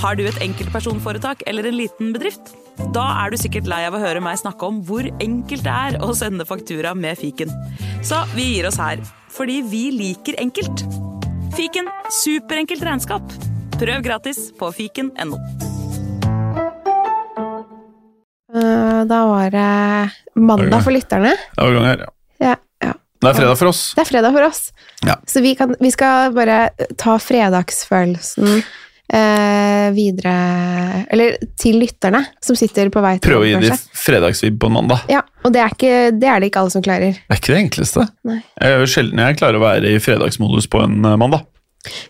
Har du et enkeltpersonforetak eller en liten bedrift? Da er du sikkert lei av å høre meg snakke om hvor enkelt det er å sende faktura med fiken. Så vi gir oss her, fordi vi liker enkelt. Fiken superenkelt regnskap. Prøv gratis på fiken.no. Eh, Da var det mandag for lytterne. Overgang her, ja. Ja, ja. Det er fredag for oss. Det er fredag for oss. Ja. Så vi, kan, vi skal bare ta fredagsfølelsen eh, videre Eller til lytterne som sitter på vei til Prøve å gi jobb, de kanskje. fredagsvibb på en mandag. Ja, og det er, ikke, det er det ikke alle som klarer. Det er ikke det enkleste. Nei. Jeg er jo sjelden jeg klarer å være i fredagsmodus på en eh, mandag.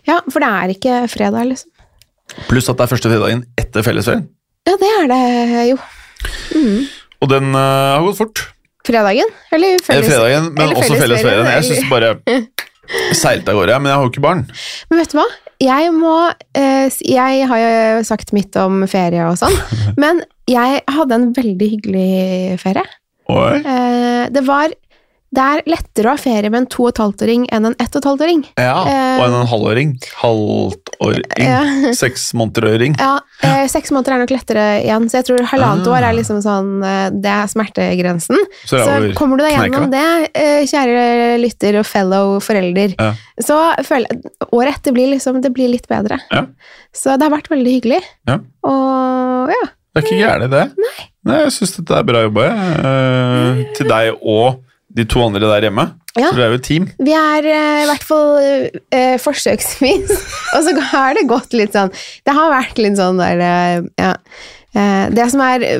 Ja, for det er ikke fredag, liksom. Pluss at det er første fredagen etter fellesferien. Ja, det er det jo. Og den eh, har gått fort. Fredagen? Eller Felles, felles... fredagen, men eller også fellesferien. fellesferien. Jeg syns bare seilt av gårde, men jeg har jo ikke barn. Men vet du hva? Jeg må eh, si- Jeg har jo sagt mitt om ferie og sånn, men jeg hadde en veldig hyggelig ferie. Oi. Eh, det var Det er lettere å ha ferie med en to og et halvt åring enn en ett og et halvt åring. Ja, og en, en halvåring. Eh. Ja. Halvtåring. Seks månederøring. Ja, eh, Seks måneder er nok lettere igjen, så jeg tror halvannet Ah. år er liksom sånn eh, Det er smertegrensen. Så Så det er over. kommer du deg kneika. gjennom det, eh, kjære lytter og fellow forelder, Ja. så føler jeg året etter blir liksom Det blir litt bedre. Ja. Så det har vært veldig hyggelig. Ja. Og ja. Det er ikke gærent, det. Nei. jeg syns dette er bra jobba, jeg. Eh, til deg og de to andre der hjemme. Ja. For det er jo et team. Vi er eh, i hvert fall eh, forsøksvis, og så har det gått litt sånn Det har vært litt sånn der eh, Ja. Eh, det som er eh,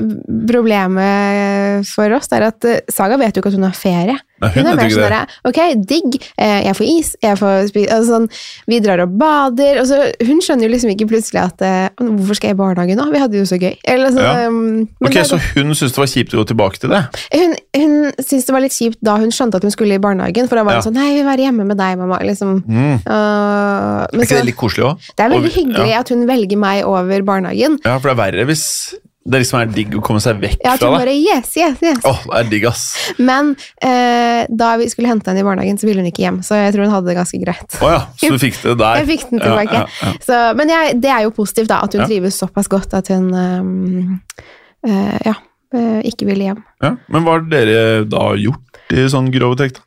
problemet for oss, er at eh, Saga vet jo ikke at hun har ferie. Nei, hun Hun er vet jo mer ikke sånn det. der, Ok, digg. eh, Jeg får is, jeg får spise altså sånn, Vi drar og bader. Og så, hun skjønner jo liksom ikke plutselig at eh, Hvorfor skal jeg i barnehagen nå? Vi hadde det jo så gøy. Eller, så, Ja. um, men Ok, det er Så hun syntes det var kjipt å gå tilbake til det? hun, hun syntes det var litt kjipt da hun skjønte at hun skulle i barnehagen, for da var hun Ja. sånn Nei, jeg vil være hjemme med deg, mamma. Liksom. Øh, men Mm. Er så, ikke det litt koselig òg? det er veldig hyggelig at hun velger meg over barnehagen. Ja, for det er verre hvis det liksom er digg å komme seg vekk Ja, at hun fra det. bare yes, yes, yes. Åh, det er digg, ass. Men eh, da vi skulle hente henne i barnehagen, så ville hun ikke hjem. Så jeg tror hun hadde det ganske greit. Å ja, så du fikk det der. Jeg fikk den Ja, tilbake. ja, ja. Så, men jeg, det er jo positivt, da. At hun Ja. trives såpass godt at hun ehm, eh, ja, eh, ikke ville hjem. Ja. Men hva har dere da gjort i sånn grove trekk, da?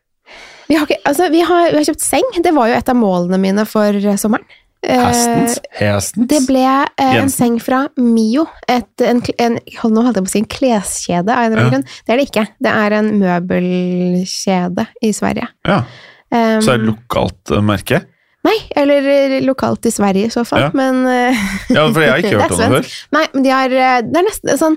Vi har, ikke, altså, vi, har, vi har kjøpt seng. Det var jo et av målene mine for eh, sommeren. Eh, Hestens? Hestens? Det ble eh, en Jensen. seng fra Mio. Et, en, kl- en, hold, nå holdt jeg på å si en kleskjede. Av en eller annen Ja. grunn. Det er det ikke. Det er en møbelkjede i Sverige. Ja. Um, Så er det lokalt eh, merke? nei, eller eh, lokalt i Sverige i så fall. Ja. Men eh, Ja, for jeg har ikke Det er hørt om det svensk. før. nei, men de har eh, Det er nesten sånn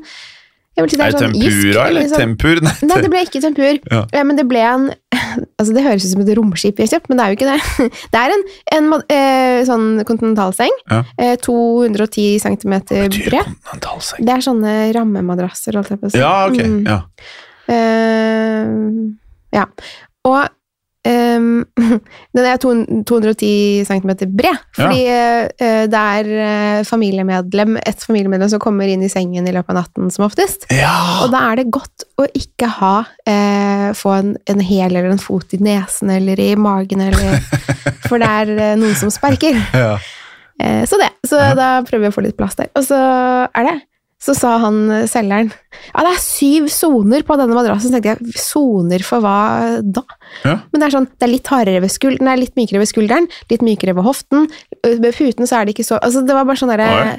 jeg vil si det Er er, det sånn jysk, tempura, eller? sånn- Tempur? Nei, Nei, det ble ikke tempur. Ja. Eh, Men det ble en Altså, det høres ut som et romskip vi har kjøpt, men det er jo ikke det. Det er en, en ma- eh, sånn kontinentalseng. Ja. Eh, 210 cm Betyr bred. kontinentalseng. Det er sånne rammemadrasser, holdt jeg på å si. Ja, ok. Mm. Ja. Eh, ja. Og ehm, den er to- 210 cm bred, fordi eh, det er eh, familiemedlem, et familiemedlem som kommer inn i sengen i løpet av natten som oftest. ja. Og da er det godt å ikke ha eh, få en, en hæl eller en fot i nesen eller i magen, eller, for det er eh, noen som sparker. ja. Eh, så det. Så Ja. da prøver vi å få litt plass der. Og så er det. Så sa han eh, selgeren ja, det er syv soner på denne madrassen. Så tenkte jeg, soner for hva da? Ja. Men det er sånn, det er litt hardere ved skulderen, nei, litt mykere ved skulderen, litt mykere ved hoften. ø, Ved puten så er det ikke så Altså, det var bare sånn derre Oi.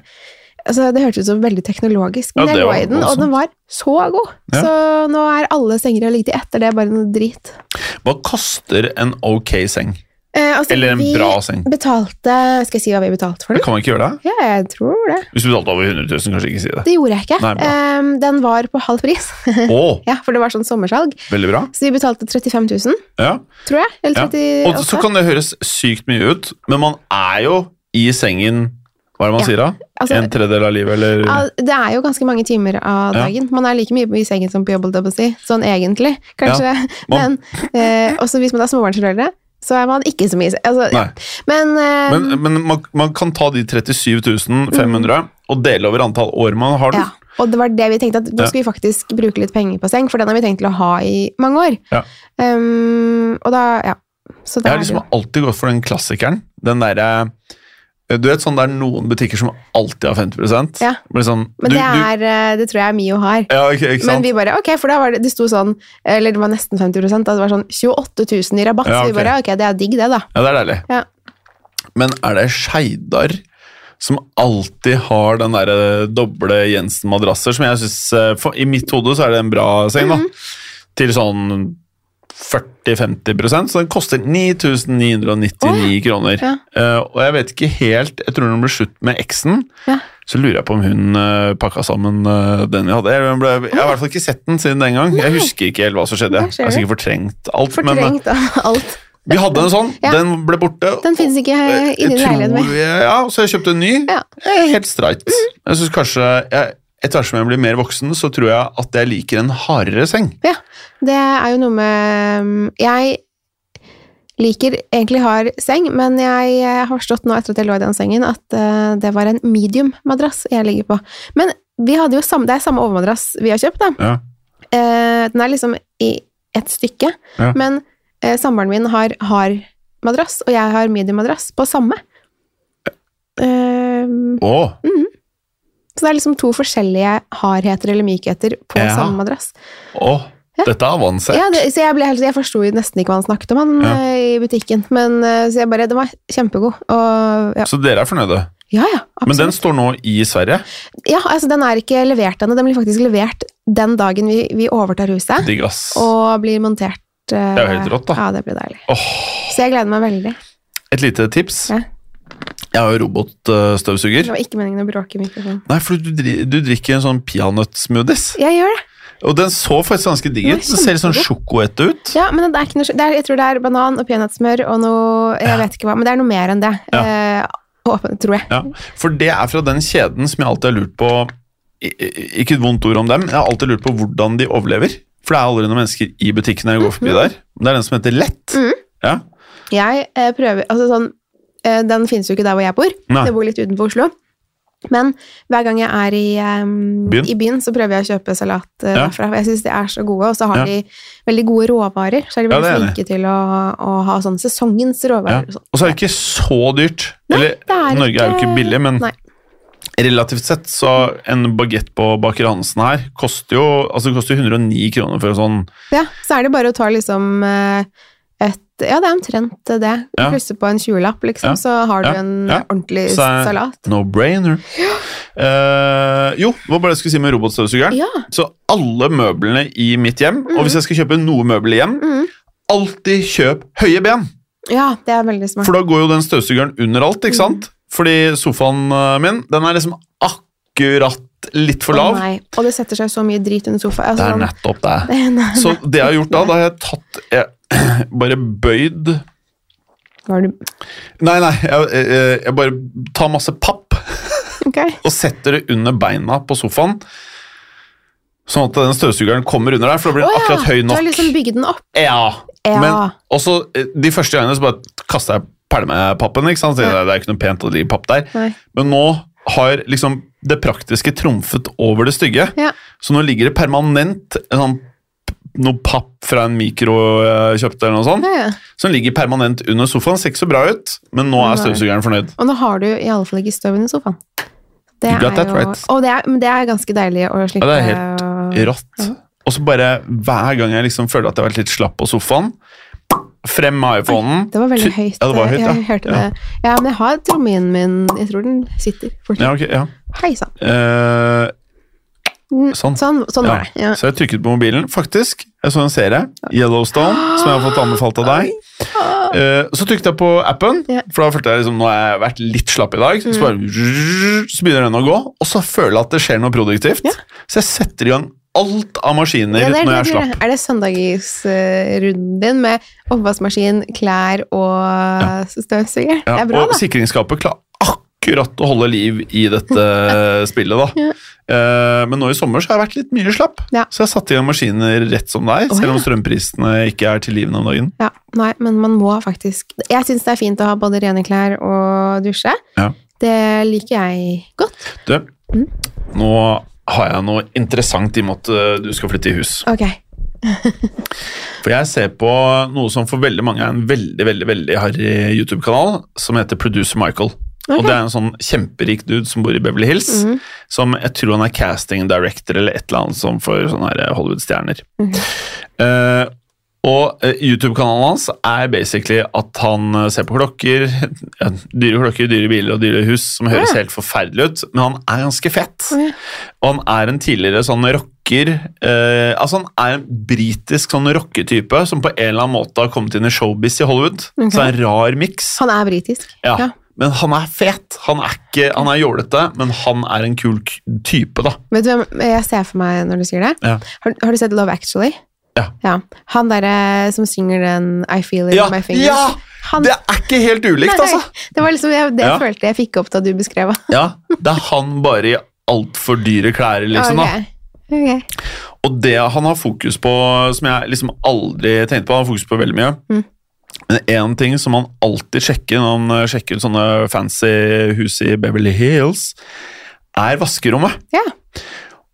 altså, Det hørtes ut som veldig teknologisk, Ja, men det jeg lå var i den, og den var så god. Ja. Så nå er alle senger jeg har ligget i etter det, bare noe drit. Hva koster en ok seng? Eh, altså, Eller en vi bra seng? betalte Skal jeg si hva vi betalte for Det den? kan man ikke gjøre det? Ja, jeg tror det. Hvis du betalte over 100 000, kanskje ikke si det. Det gjorde jeg ikke. Nei, bra. Ehm, den var på halv pris, Å, ja, for det var sånn sommersalg. veldig bra. Så vi betalte 35 000, Ja. tror jeg. Eller ja. 38 Og så kan det høres sykt mye ut, men man er jo i sengen Hva er det man Ja. sier da? Altså, en tredjedel av livet, eller ja, det er jo ganske mange timer av Ja. dagen. Man er like mye i sengen som på jobb, holdt jeg på å si. sånn egentlig, kanskje. Men man- eh, også hvis man er småbarnsforeldre, så er man ikke så mye i sengen. Altså, Nei. Men, eh, Men, men man, man kan ta de 37 500 og dele over antall år man har den. ja. Og det var det vi tenkte, at nå Ja. skal vi faktisk bruke litt penger på seng, for den har vi tenkt til å ha i mange år. Ja. Ehm, og da, ja. Så Jeg da er har det liksom jo alltid gått for den klassikeren. Den derre Du vet sånn, Det er noen butikker som alltid har 50 Ja. Men sånn, Men du- det, du- er, eh, det tror jeg Mio har. ja, ikke, ikke Men sant? vi bare, ok, for da var det, det sto sånn, eller det var nesten 50 da det var sånn 28 000 i rabatt, Ja, så vi ok. bare, ok, det er digg det da. Ja, det er deilig. Ja. Men er det Skeidar som alltid har den der eh, doble Jensen-madrasser, som jeg syns I mitt hode så er det en bra seng, da. Mhm. Til sånn 40-50 så den koster 9999 kroner. ja. Eh, og jeg vet ikke helt Jeg tror den ble slutt med eksen. Ja. Så lurer jeg på om hun eh, pakka sammen eh, den vi hadde. Eller hun ble, jeg har i hvert fall ikke sett den siden den gang. Jeg husker ikke helt hva som skjedde. Der Jeg ser har du. sikkert fortrengt alt. Men, eh, Fortrengt av alt. vi hadde en sånn, Ja. den ble borte. Den finnes ikke eh, Jeg inni leiligheten tror min. jeg- Ja, så jeg kjøpte en ny. Ja. Mm. Jeg er helt streit. Jeg synes kanskje, jeg, Etter hvert som jeg blir mer voksen, så tror jeg at jeg liker en hardere seng. Ja, det er jo noe med um, Jeg liker egentlig hard seng, men jeg eh, har forstått nå etter at jeg lå i den sengen, at eh, det var en medium-madrass jeg ligger på. Men vi hadde jo samme, det er samme overmadrass vi har kjøpt, da. Ja. Eh, den er liksom i et stykke, Ja. men eh, samboeren min har hard madrass, og jeg har medium-madrass på samme. Eh, Å, så det er liksom to forskjellige hardheter eller mykheter på Ja. samme madrass. å, dette er avansert. Ja, det, så jeg, ble helt, jeg forsto jo nesten ikke hva han snakket om han, Ja. eh, i butikken, men eh, så jeg bare, den var kjempegod. Og, ja. Så dere er fornøyde. ja, ja, Men den absolutt. står nå i Sverige. ja, altså, den er ikke levert ennå, den blir faktisk levert den dagen vi, vi overtar huset, Digg, ass. og blir montert. eh, Det er jo helt rått, da. Ja, det blir deilig. Åh, Så jeg gleder meg veldig. et lite tips. Ja. Jeg har jo robotstøvsuger. Det var ikke meningen å bråke i mikrofonen. Nei, for du, dri- du drikker en sånn peanøttsmoothies. Jeg gjør det. Og den så faktisk ganske digg Den er ut. Den ser litt sånn sjokoete ut. Ja, men det er ikke noe, det er, jeg tror det er banan og peanøttsmør og noe Jeg vet ikke hva, men det er noe mer enn det. Ja. Eh, åpen, tror jeg. Ja, for det er fra den kjeden som jeg alltid har lurt på i- i- Ikke et vondt ord om dem, men jeg har alltid lurt på hvordan de overlever. For det er aldri noen mennesker i butikken når jeg går Mhm. forbi der. Men Det er den som heter Lett. Ja. Jeg eh, prøver Altså sånn eh, Den finnes jo ikke der hvor jeg bor. Nei. Jeg bor litt utenfor Oslo. Men hver gang jeg er i, eh, Byen? i byen, så prøver jeg å kjøpe salat eh, Ja. derfra. for Jeg syns de er så gode, og så har Ja. de veldig gode råvarer. Så er de Ja, veldig det er flinke til å, å ha sånn sesongens Ja. råvarer. og sånn. Og så er det ikke så dyrt. det Eller er Norge er jo ikke ikke- billig, men Nei. relativt sett så en bagett på Baker Hansen her koster jo altså det koster jo 109 kroner for en sånn Ja, så er det bare å ta liksom eh, et Ja, det er omtrent det. Ja. Plusse på en 20-lapp, liksom, Ja. så har du Ja. en Ja. ordentlig Så er- salat. no-brainer. Eh, jo, hva var det jeg skulle si med robotstøvsugeren? Ja. Så alle møblene i mitt hjem, og hvis jeg skal kjøpe noe møbel i hjem, Mhm. alltid kjøp høye ben. ja, det er veldig smart. For da går jo den støvsugeren under alt, Mhm. ikke sant? Fordi sofaen eh, min, den er liksom akkurat litt for Å, lav. nei. Og det setter seg så mye drit under sofaen. det er Altså, nettopp det. sånn- Nei, Så det jeg har gjort da, da har jeg tatt jeg, Bare bøyd var du Nei, nei, jeg, jeg, jeg bare tar masse papp Ok. og setter det under beina på sofaen. Sånn at den støvsugeren kommer under der, for da blir Å den ja, akkurat høy Du har nok. liksom bygd den opp. Ja. Ja. Men også eh, de første gangene så bare kasta jeg pælmepappen. ikke sant? Så Det er ikke noe pent å ligge papp der. Nei. Men nå har liksom det praktiske trumfet over det stygge. Ja. Så nå ligger det permanent en sånn, p- noe papp fra en mikro jeg kjøpte, eller noe sånt, Ja, ja. som ligger permanent under sofaen. Ser ikke så bra ut, men nå er Nei. støvsugeren fornøyd. Og nå har du i alle fall ikke støv under sofaen. Det You got that right. Og det er, men det er ganske deilig å slippe Ja, det er helt å- Rått. Og så bare hver gang jeg liksom føler at jeg har vært litt slapp på sofaen, frem med iPhonen. Det var veldig høyt. eh, Ja, det var høyt, ja. Jeg hørte Ja. det. Ja, men jeg har trommehinen min Jeg tror den sitter fortsatt. Ja, ok, ja. Hei sann. Eh, Mm, Sånn. Sånn, sånn ja. var det. Ja. Så jeg trykket på mobilen. Faktisk, jeg så en serie, Yellowstone, som jeg har fått anbefalt av deg. Eh, så trykket jeg på appen, Ja. Mm. for da følte jeg liksom, nå har jeg vært litt slapp i dag. Så, bare, så begynner den å gå, og så føler jeg at det skjer noe produktivt. Ja. Så jeg setter i gang alt av maskiner Ja, det er, når det jeg er du gjør. slapp. er det søndagsrunden din med oppvaskmaskin, klær og støvsuger? Ja, Det er bra, og da. sikringsskapet klarer akkurat å holde liv i dette spillet, da. Ja. Eh, men nå i sommer så har jeg vært litt mye slapp, Ja. så jeg satte i gang maskiner rett som deg, Å, selv om ja. strømprisene ikke er til livene om dagen. Ja, nei, men man må faktisk Jeg syns det er fint å ha både rene klær og dusje. Ja. Det liker jeg godt. Du, Mm. nå har jeg noe interessant i og med at eh, du skal flytte i hus. Ok. For jeg ser på eh, noe som for veldig mange er en veldig, veldig, veldig harry YouTube-kanal, som heter Producer Michael. Og det er en sånn kjemperik dude som bor i Beverly Hills. Som jeg tror han er casting director eller et eller annet sånn for sånne her Hollywood-stjerner. Eh, og eh, YouTube-kanalen hans er basically at han eh, ser på klokker. ja, Dyre klokker, dyre biler og dyre hus, som høres helt forferdelig ut, men han er ganske fett. Ja. Og han er en tidligere sånn rocker eh, Altså, han er en britisk sånn rocketype som på en eller annen måte har kommet inn i showbiz i Hollywood. Ok. Så det er en rar miks. Han er britisk. Ja. Men han er fet. Han er ikke, han er jålete, men han er en kul k- type, da. Vet du hvem jeg ser for meg når du sier det? Ja. Har, har du sett Love Actually? Ja. Han derre som synger den I feel it Ja, in my fingers. ja! Han, Det er ikke helt ulikt, altså! Nei, det var liksom jeg, det Ja. følte jeg fikk opp da du beskrev han. Ja, Det er han bare i altfor dyre klær, liksom. da. Ok. Ok. Og det han har fokus på, som jeg liksom aldri tenkte på, han har fokus på veldig mye. Mm. Men én ting som han alltid sjekker når han eh, sjekker ut sånne fancy hus i Beverly Hills, er vaskerommet. Ja.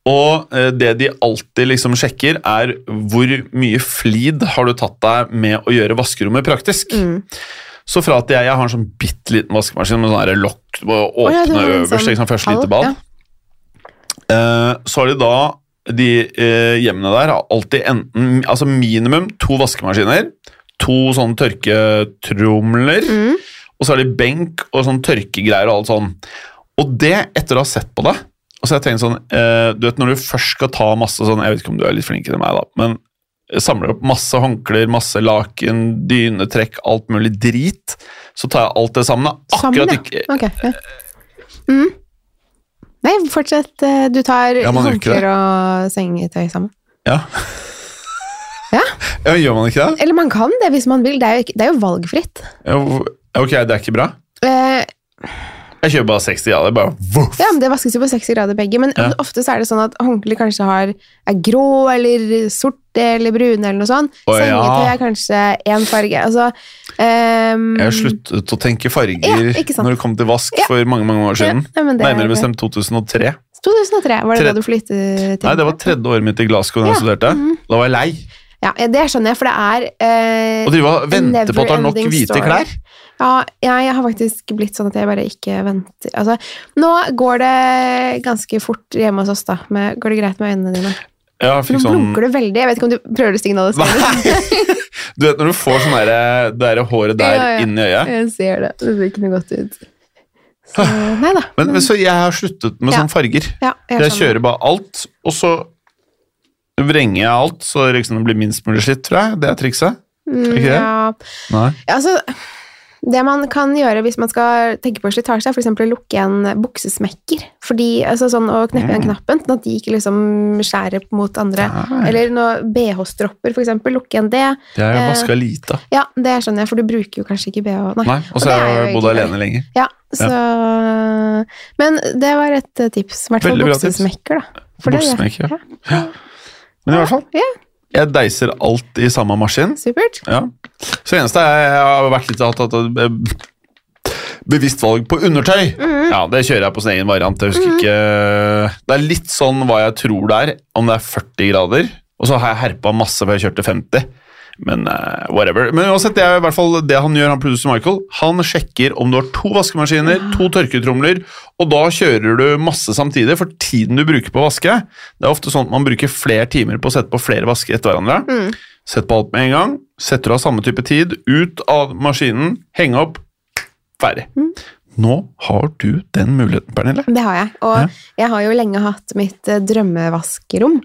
Og eh, det de alltid liksom sjekker, er hvor mye flid har du tatt deg med å gjøre vaskerommet praktisk. Mm. Så fra at jeg, jeg har en sånn bitte liten vaskemaskin med sånn her lokk og Å åpne ja, det var en øverst, sånn ikke sant, først halv, lite bad. ja. Eh, så har de da de eh, hjemmene der har alltid enten altså minimum to vaskemaskiner, to sånne tørketromler, Mm. og så har de benk og sånn tørkegreier og alt sånn. Og det, etter å ha sett på det og så har jeg tenkt sånn, eh, du vet Når du først skal ta masse sånn Jeg vet ikke om du er litt flinkere enn meg, da, men jeg samler opp masse håndklær, masse laken, dynetrekk, alt mulig drit. Så tar jeg alt det sammen. da. Sammen, Akkurat ja. ikke Ok, ja. Mm. Nei, fortsett. eh, Du tar Ja, man gjør ikke håndklær og sengetøy sammen. Ja. Ja. ja, gjør man ikke det? Eller man kan det hvis man vil. Det er jo, ikke, det er jo valgfritt. Ja, hvor- Ok, det er ikke bra. Eh, Jeg kjøper bare 60 av det. Bare voff! Ja, men Det vaskes jo på 60 grader begge, men Ja. ofte så er det sånn at håndklær kanskje har, er grå eller sorte eller brune eller noe sånt. Å, ja. Sengetøy er kanskje én farge. Altså ehm, Jeg har sluttet å tenke farger Ja, ikke sant. når det kom til vask Ja. for mange mange år siden. Ja, men det- Nærmere bestemt 2003. 2003, var det da Tre- du flyttet til? Nei, Det var tredje året mitt i Glasgow da Ja, jeg Mm. studerte. Da var jeg lei. Ja, det skjønner jeg, for det er eh, Og drive og vente på at det er nok never-ending hvite story. klær. Ja, jeg, jeg har faktisk blitt sånn at jeg bare ikke venter. Altså, nå går det ganske fort hjemme hos oss, da. Med, går det greit med øynene dine? Ja, jeg Nå fikk sånn blunker du veldig. Jeg vet ikke om du prøver å signalisere. Nei! Du vet når du får sånn derre- det derre håret der Ja, ja. inn i øyet. Jeg ser det. Det ser ikke noe godt ut. Så, nei da. Men, men så jeg har sluttet med Ja. sånne farger. ja, sånn. Jeg skjønner. kjører bare alt, og så vrenger jeg alt, så liksom det blir minst mulig skitt, tror jeg. Det er trikset. Mm, ikke det? ja. Nei. Ja, altså, det man kan gjøre hvis man skal tenke på slitasje, er f.eks. å lukke igjen buksesmekker. Fordi, altså sånn Å kneppe Mm. igjen knappen, sånn at de ikke liksom skjærer mot andre. Nei. Eller noe BH-stropper, f.eks. Lukke igjen det. Jeg har Eh. vaska lite. Ja, det skjønner jeg, for du bruker jo kanskje ikke BH. Nei. Nei, Og så det har er jeg jo bodd egentlig- alene lenger. Ja, så Men det var et eh, tips. I hvert fall Veldig bra tips. buksesmekker, da. Buksesmekker, ja. Men i hvert fall, Ja, jeg deiser alt i samme maskin. supert. Ja. Så det eneste er jeg har vært litt hatt, hatt hatt, eh, bevisst valg på undertøy. Ja, det kjører jeg på sin egen variant. Jeg husker ikke eh, Det er litt sånn hva jeg tror det er, om det er 40 grader. Og så har jeg herpa masse, for jeg kjørte 50. Men eh, whatever. Men uansett, det er i hvert fall det han gjør, han producer Michael. Han sjekker om du har to vaskemaskiner, to tørketromler, og da kjører du masse samtidig, for tiden du bruker på å vaske Det er ofte sånn at man bruker flere timer på å sette på flere vasker etter hverandre. Sett på alt med en gang. Setter du av samme type tid, ut av maskinen, henge opp, ferdig. Nå har du den muligheten, Pernille. Mm. Det har jeg. Og jeg har jo lenge hatt mitt eh, drømmevaskerom.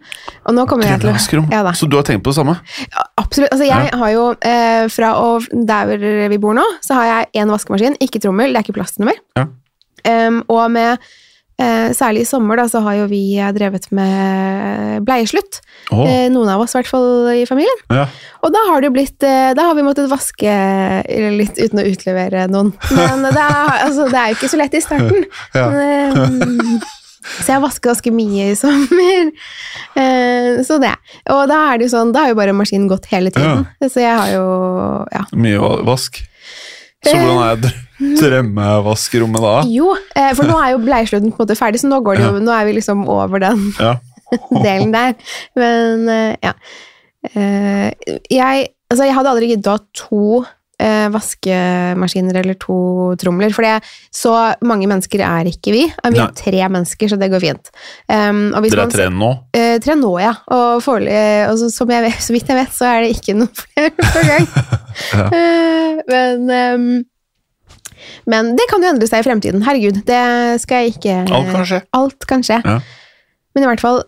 Og nå kommer jeg til å Drømmevaskerom. ja, da. Så du har tenkt på det samme? Absolutt. Altså, jeg har jo eh, fra å, der hvor vi bor nå, så har jeg én vaskemaskin, ikke trommel, det er ikke plass til noe mer. Ja. Em, og med eh, Særlig i sommer da, så har jo vi eh, drevet med bleieslutt. Åh, Eh, noen av oss, i hvert fall i familien. ja. Og da har, det jo blitt, eh, da har vi måttet vaske eh, litt uten å utlevere noen. Men det er, altså, det er jo ikke så lett i starten. Ja. Men, eh, Så jeg vasker ganske mye i sommer. Eh, Så det. Og da er det jo sånn, da har jo bare maskinen gått hele tiden. Så jeg har jo ja. Mye va- vask. Så Eh. hvordan er dr- drømmevaskerommet da? Jo, eh, for nå er jo bleiesluten på en måte ferdig, så nå, går det jo, nå er vi liksom over den Ja. delen der. Men eh, ja. Eh, jeg, altså, jeg hadde aldri giddet å ha to eh, vaskemaskiner eller to tromler. For det- så mange mennesker er ikke vi. Vi Nei. er tre mennesker, så det går fint. Um, og hvis Dere man- er tre nå? Eh, tre nå, ja. Og, forelø- eh, og så, som jeg vet, så vidt jeg vet, så er det ikke noe flere på gang. Eh, men, ehm, men det kan jo endre seg i fremtiden. Herregud, det skal jeg ikke Alt kan skje. Alt kan skje. Ja. Men i hvert fall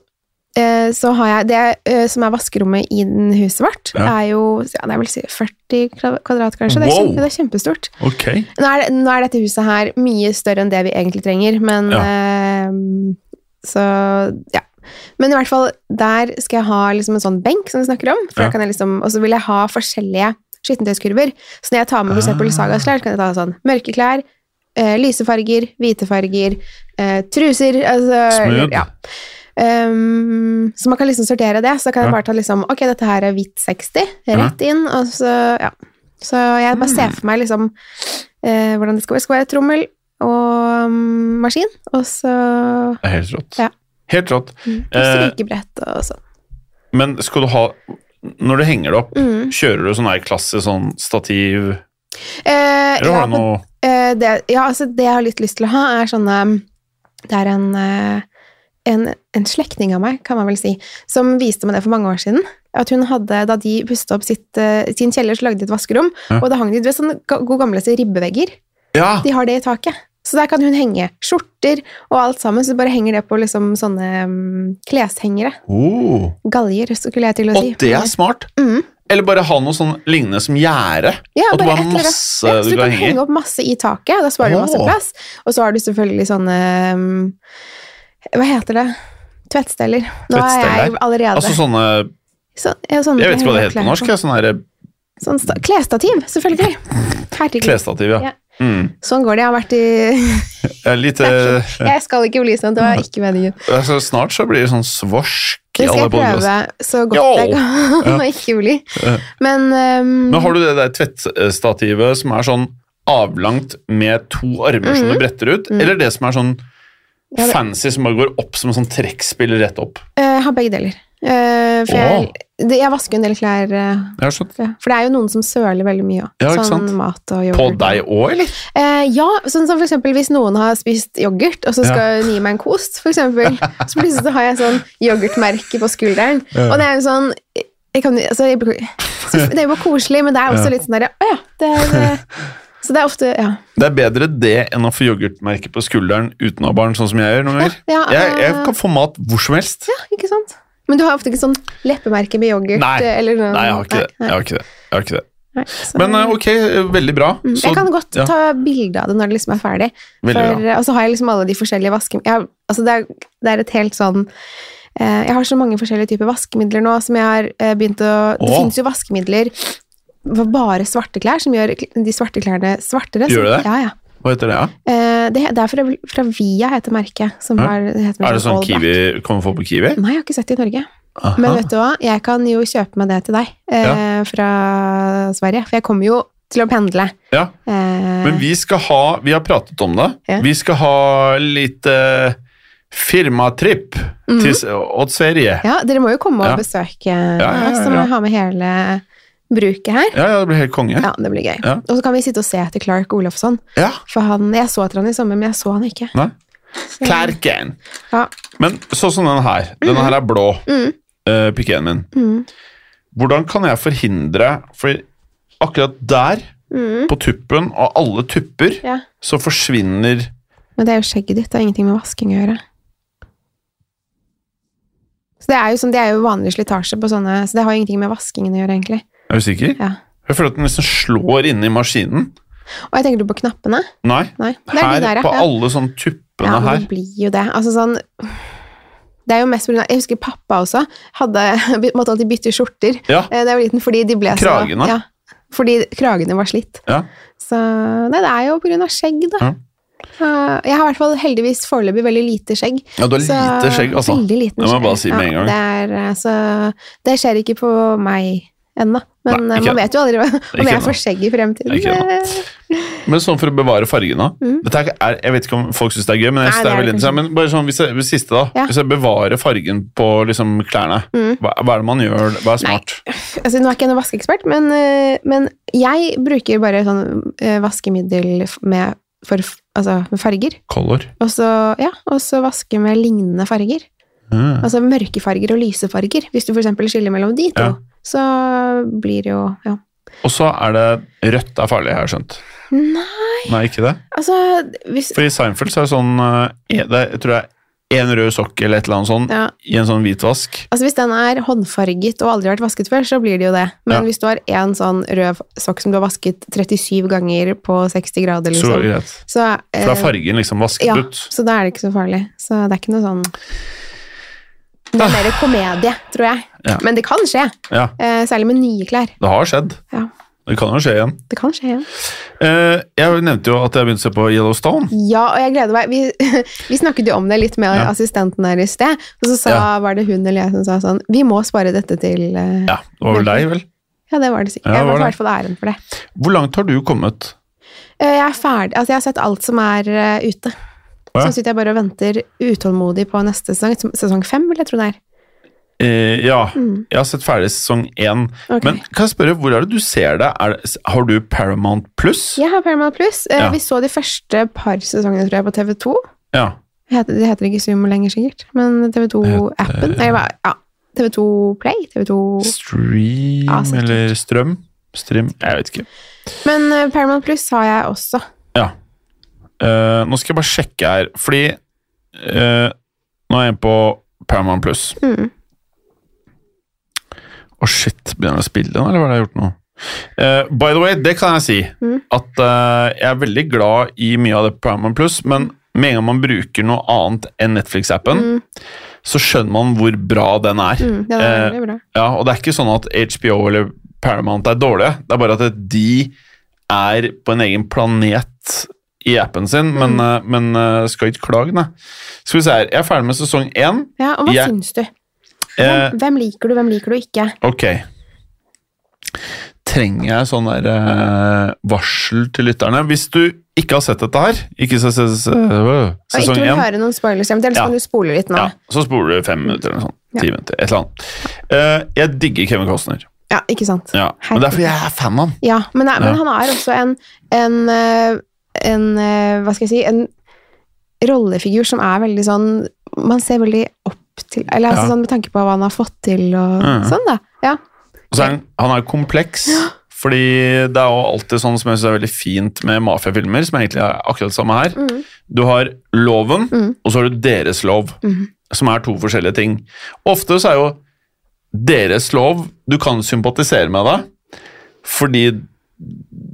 eh, så har jeg Det eh, som er vaskerommet i den huset vårt, Ja. er jo ja, det er vel si 40 kva- kvadrat, kanskje. Det er, Wow. kjempe, det er kjempestort. Ok. Nå er, det, nå er dette huset her mye større enn det vi egentlig trenger, men Ja. ehm, Så ja. Men i hvert fall, der skal jeg ha liksom en sånn benk som vi snakker om, for Ja. da kan jeg liksom, og så vil jeg ha forskjellige skittentøyskurver. Så når jeg tar med for eksempel Ah. sagaslær, så kan jeg ta sånn mørke klær, eh, lyse farger, hvite farger, eh, truser altså, Smooth. Ja. Ehm, så man kan liksom sortere det. Så kan jeg Ja. bare ta liksom Ok, dette her er hvit 60, rett inn, og så Ja. Så jeg bare Mm. ser for meg liksom eh, hvordan det skal være. Det skal være trommel og mm, maskin, og så Det er helt rått. Ja. Helt rått. mm, Eh, strykebrett og sånn. Men skal du ha Når du henger det opp, Mm. kjører du sånn her klasse sånn stativ Eh, Eller ja, har du men, noe eh, det, ja, altså det jeg har litt lyst til å ha, er sånne Det er en eh, en, en slektning av meg, kan man vel si, som viste meg det for mange år siden. At hun hadde, Da de pustet opp sitt, eh, sin kjeller, så lagde de et vaskerom. Ja. Og da hang de du vet, sånne ga- gode gamle ribbevegger. Ja! De har det i taket. Så der kan hun henge skjorter og alt sammen. Så bare henger det på liksom sånne mm, kleshengere. Oh. Galjer, skulle jeg til å Og si. det er smart! Mm. Eller bare ha noe sånn lignende som gjerde. Ja, At du bare et har eller annet. masse Ja, så du du kan kan henge i. henge opp masse i taket, da sparer du masse Åh. plass. Og så har du selvfølgelig sånne um, Hva heter det? Tvettsteller. Nå er jeg Tvettsteller? allerede Altså sånne Så- ja, sånne Jeg vet ikke hva det heter klær på norsk. ja, Sånn her Sånn sta- klesstativ, selvfølgelig. Herregud. klesstativ, ja. Ja. Mm. Sånn går det. Jeg har vært i Ja, Litt eh, Jeg skal ikke bli sånn, det var ikke meningen. altså, Snart så blir det sånn svorsk i Det skal alle jeg prøve Mm. podkaster. så godt Jo! jeg kan å ikke bli. Men um, Men har du det der tvettstativet som er sånn avlangt med to armer som du bretter ut, eller det som er sånn Mm. Ja, det- fancy som bare går opp som en sånn trekkspill rett opp? eh, jeg har begge deler. Eh, for jeg, det, jeg vasker en del klær eh, Jeg har skjønt. Ja, For det er jo noen som søler veldig mye òg. Ja, ikke sånn sant? mat og På yoghurt. deg òg, eller? Eh, ja, sånn som for eksempel hvis noen har spist yoghurt, og så skal hun gi meg en kost, for eksempel. Så plutselig så har jeg sånn yoghurtmerke på skulderen. Og det er jo sånn jeg kan, altså, jeg, så Det er jo bare koselig, men det er også litt sånn derre Å ja. Det er, eh, så det er ofte Ja. Det er bedre det enn å få yoghurtmerke på skulderen uten å ha barn, sånn som jeg gjør noen ganger. Ja, ja, jeg, jeg eh, kan få mat hvor som helst. Ikke sant? Men du har ofte ikke sånn leppemerke med yoghurt? Nei, eh, eller noe- Nei, jeg har ikke det. Jeg har ikke det. Jeg har ikke det. nei, så- Men eh, ok, veldig bra. Mm, Så- jeg kan godt ja, ta bilde av det når det liksom er ferdig. Veldig For, og så har jeg liksom alle de forskjellige vaske... Jeg, har- altså det, er, det er et helt sånn eh, Jeg har så mange forskjellige typer vaskemidler nå som jeg har eh, begynt å Det Åh. finnes jo vaskemidler for bare svarte klær, som gjør kl- de svarte klærne svartere. så- Gjør det det? Ja, ja. Hva heter det, ja? Eh, det, det er fra, fra Via, heter merket. Som Ja. har, det heter Er det merket sånn All Black. Kiwi kan man få på Kiwi? Nei, jeg har ikke sett det i Norge. Aha. Men vet du hva, jeg kan jo kjøpe meg det til deg eh, fra Sverige. For jeg kommer jo til å pendle. Ja, Eh, men vi skal ha Vi har pratet om det. Ja. Vi skal ha litt eh, firmatripp til, åt Sverige. Ja. Mm-hmm. Ja, dere må jo komme og Ja. besøke ja, oss, så må ja. vi ha med hele bruket her. ja, det blir helt konge. Ja, det blir gøy. Ja. Og så kan vi sitte og se etter Clark Olofsson, Ja. for han, jeg så etter han i sommer, men jeg så han ikke. Nei. Så- Klerken. Ja. Men sånn som den her. Denne her er blå. Mm. Uh, Pikeen min. Mm. Hvordan kan jeg forhindre For akkurat der, Mm. på tuppen, av alle tupper, Ja. så forsvinner Men det er jo skjegget ditt, det har ingenting med vasking å gjøre. Så det er jo, sånn, det er jo vanlig slitasje på sånne, så det har jo ingenting med vaskingen å gjøre, egentlig. Er du sikker? Ja. Jeg føler at den liksom slår inne i maskinen. Og jeg tenker du på knappene? Nei. Nei, det er Her, de der, ja. på ja. alle sånne tuppene Ja, men her. det blir jo det. Altså sånn Det er jo mest på grunn av Jeg husker pappa også hadde, måtte alltid bytte skjorter Ja. eh, da jeg var liten, fordi de ble Kragene? så Ja. Fordi kragene var slitt. ja. Så Nei, det er jo på grunn av skjegg, da. Ja. Eh, Jeg har i hvert fall heldigvis foreløpig veldig lite skjegg. Ja, du har lite skjegg, altså. Veldig liten Det må jeg skjegg. bare si med en gang. Det, er, eh, så det skjer ikke på meg ennå. Men Nei, eh, ikke man ennå. vet jo aldri hva- om Ikke jeg ennå. får skjegg i fremtiden. Ikke ennå. Eh, Men sånn for å bevare fargen da. Dette er, er- jeg vet ikke om folk syns det er gøy, men Mm. Nei, jeg synes det det er er veldig det interessant. Men bare sånn, hvis jeg, hvis siste da, Ja. Mm. hvis jeg bevarer fargen på liksom, klærne, hva, hva er det man gjør? Hva er Nei. smart? Altså, nå er ikke jeg noen vaskeekspert, men, eh, men jeg bruker bare sånn eh, vaskemiddel f- med, for, f- altså, med farger. Color. Og så, ja, og så vaske med lignende farger. Mm. Altså mørke farger og lyse farger. Hvis du for eksempel skiller mellom de to, Ja. så blir det jo ja. Og så er det rødt er farlig, har jeg skjønt. Nei, Nei, ikke det? altså hvis, For i Seinfeld så er det sånn eh, det er, Jeg tror det er én rød sokk eller et eller annet sånn ja. i en sånn hvitvask. altså hvis den er håndfarget og aldri har vært vasket før, så blir det jo det. Men Ja. hvis du har én sånn rød sokk som du har vasket 37 ganger på 60 grader, Så liksom, greit. så, eh, For da er fargen liksom vasket ja, ut. så da er det ikke så farlig. Så det er ikke noe sånn Det er mer komedie, tror jeg. Ah. Ja. Men det kan skje. Ja, Eh, særlig med nye klær. det har skjedd. Ja, Det kan jo skje igjen. det kan skje igjen. Eh, jeg nevnte jo at jeg begynte å se på Yellowstone. Ja, og jeg gleder meg. Vi, vi snakket jo om det litt med Ja. assistenten her i sted, og så sa, Ja. var det hun eller jeg som sa sånn Vi må spare dette til eh, Ja, det var vel deg, vel? Ja, det var det sikkert. Ja, jeg var var i hvert det. fall æren for det. Hvor langt har du kommet? Eh, Jeg er ferdig Altså, jeg har sett alt som er eh, ute. Ja. Så nå sitter jeg bare og venter utålmodig på neste sesong. som- Sesong fem, vil jeg tro det er. Eh, ja, jeg har sett ferdig sesong én. Mm. Ok. Men kan jeg spørre, hvor er det du ser det? Er det har du Paramount Pluss? Jeg har Paramount Plus. Eh, Ja. Vi så de første par sesongene, tror jeg, på TV2. Ja. Heter, det heter ikke Zoom lenger, sikkert, men TV2-appen. Eller hva? Ja. TV2 Play? TV2 Stream Ja, sikkert. eller strøm? Stream? Jeg vet ikke. Men eh, Paramount Plus har jeg også. Ja. Eh, nå skal jeg bare sjekke her, fordi eh, Nå er jeg på Paramount Pluss. Å, Mm. shit. Begynner den å spille den, eller hva er det jeg har gjort nå? Eh, by the way, det kan jeg si. Mm. At eh, jeg er veldig glad i mye av det på Paramount Pluss, men med en gang man bruker noe annet enn Netflix-appen, Mm. så skjønner man hvor bra den er. Mm, den er Eh, veldig bra. Ja, og det er ikke sånn at HBO eller Paramount er dårlige. Det er bare at de er på en egen planet i appen sin, men, Mm. eh, men eh, skal ikke klage, nei. Skal vi se her, jeg er ferdig med sesong én. Ja, og hva jeg- syns du? Eh, Hvem, hvem liker du, hvem liker du ikke? ok. Trenger jeg sånn der eh, varsel til lytterne? Hvis du ikke har sett dette her, ikke se, se, se, øh, Og ikke sesong vil én, høre noen spoilers, ja, men ellers Ja. kan du spole litt nå. ja, Ja. så spoler du fem minutter eller noe sånt. Ti minutter, et eller annet. Eh, jeg digger Kevin Costner. ikke sant? Ja, men det er fordi jeg er fan av han. Ja, men, nei, men Ja. han er også en, en, eh, en eh, Hva skal jeg si En rollefigur som er veldig sånn Man ser veldig opp til Eller altså, Ja. sånn med tanke på hva han har fått til og Mhm. sånn, da. Ja. Og så er han, han er jo kompleks, fordi det er jo alltid sånn som jeg synes er veldig fint med mafiafilmer, som egentlig er akkurat det samme her. Mhm. Du har loven, Mhm. og så har du deres lov, Mhm. som er to forskjellige ting. Ofte så er jo deres lov Du kan sympatisere med det, fordi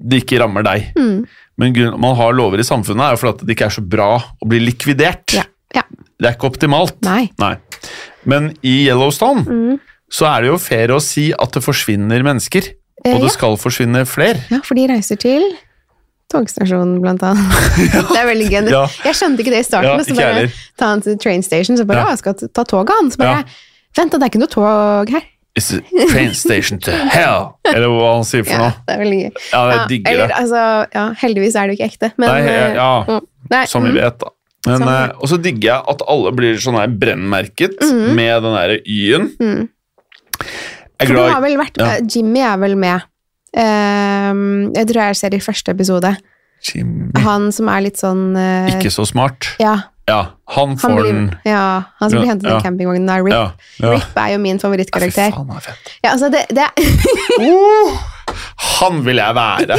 det ikke rammer deg. Mhm. Men grunnen, man har lover i samfunnet er jo fordi at det ikke er så bra å bli likvidert. Ja. ja. Det er ikke optimalt. Nei. Men i Yellowstone Mhm. så er det jo fair å si at det forsvinner mennesker. Eh, Og ja. det skal forsvinne flere. Ja, for de reiser til togstasjonen, blant annet. Det er veldig gøy. Ja. Jeg skjønte ikke det i starten. Ja, men så ikke bare heller. ta han til train station, så bare Ja. ja. 'Jeg skal ta toget, han.' Så bare Ja. 'Vent, da, det er ikke noe tog her'. It's a train station to hell! Eller hva han sier for Ja, noe. det er veldig gøy. Ja, jeg Ja, digger eller, det. altså, ja, heldigvis er det jo ikke ekte, men Nei, eh, ja, mm, nei, som vi mm, vet, da. Men, Som vi eh, vet. og så digger jeg at alle blir sånn her brennmerket Mhm. med den derre Y-en. Mm. Jeg er For du glad har i- vel vært eh, Ja. Jimmy er vel med. Ehm, jeg tror jeg ser i første episode. Jimmy. Han som er litt sånn eh, Mm. Ikke så smart. Ja, Ja, han, han får blir, den. ja, han som blir Ja, hentet i ja. campingvognen av Rip. Ja, ja. Rip er jo min Ja, Fy favorittkarakter. faen, han er fett. Ja, altså det, det Oh, han vil jeg være!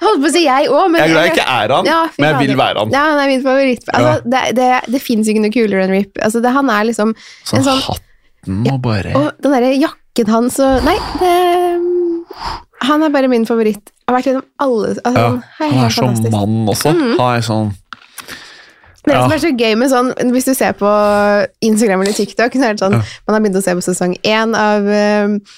holdt på å si jeg òg, men Jeg er glad jeg ikke er han, Ja, fy men jeg fader. vil være han. Ja, han er min favoritt. Altså, Det, det, det fins ikke noe kulere enn Rip. Altså, det, han er liksom Sånn en sånn hatten og bare Og den derre jakken hans og Nei, det mm, Han er bare min favoritt. Jeg har vært gjennom alle altså, Ja, han, er han helt er så fantastisk. Mm. mann også. Han er sånn Det er det ja. som er så gøy med sånn Hvis du ser på Instagram eller TikTok, så er det sånn Man har begynt å se på sesong én av eh,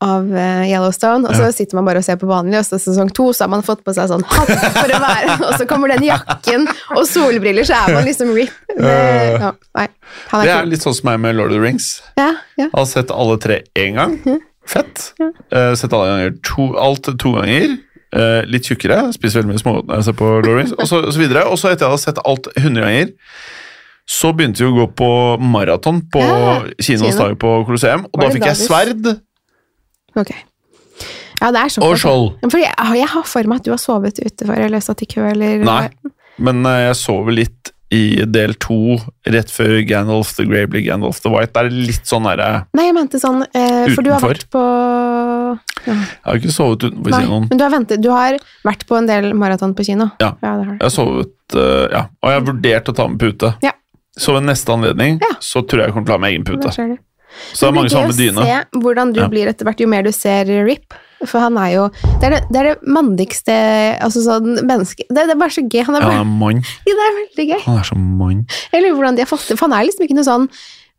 av eh, Yellowstone, og så sitter man bare og ser på vanlig, og så sesong to, så har man fått på seg sånn hatt for å være Og så kommer den jakken og solbriller, så er man liksom rip. Det, ja, nei, han Eh. Det er er kul. litt sånn som meg med Lord of the Rings. Ja, ja. Jeg har sett alle tre én gang. Fett. Eh, sett alle ganger to, alt to ganger. eh, litt tjukkere, spiser veldig mye små når jeg ser på Lorries, og så, og så videre. Og så etter jeg hadde sett alt 100 ganger, så begynte vi å gå på maraton på Ja, Kinos Kina. dag på Colosseum, og Var da det fikk da jeg sverd Ok. Ja, det er såpass. og skjold. Ja, Fordi jeg, jeg har for meg at du har sovet utenfor eller satt i kø eller Nei, men eh, jeg sover litt i del to, rett før Gandalf the Grey blir Gandalf the White. Det er litt sånn derre Nei, jeg mente sånn eh, For du har Utenfor? vært på Jeg har ikke sovet utenfor Nei, kinoen. men du har, ventet, du har vært på en del maraton på kino. Ja. det har du. Jeg har sovet eh, Ja, og jeg har vurdert å ta med pute. Ja. Så ved neste anledning Ja. så tror jeg jeg kommer til å ha med egen pute. Der ser du. Så det er mange som har med blir gøy å dyne. Se hvordan du Ja. blir etter hvert, jo mer du ser Rip. For han er jo Det er det, det, er det mandigste altså sånn menneske... Det, det er bare så gøy. Han er Ja, han bare, er mann. ja. Det er veldig gøy. Han er så mann. Jeg lurer på hvordan de har fått det, for han er liksom ikke noe sånn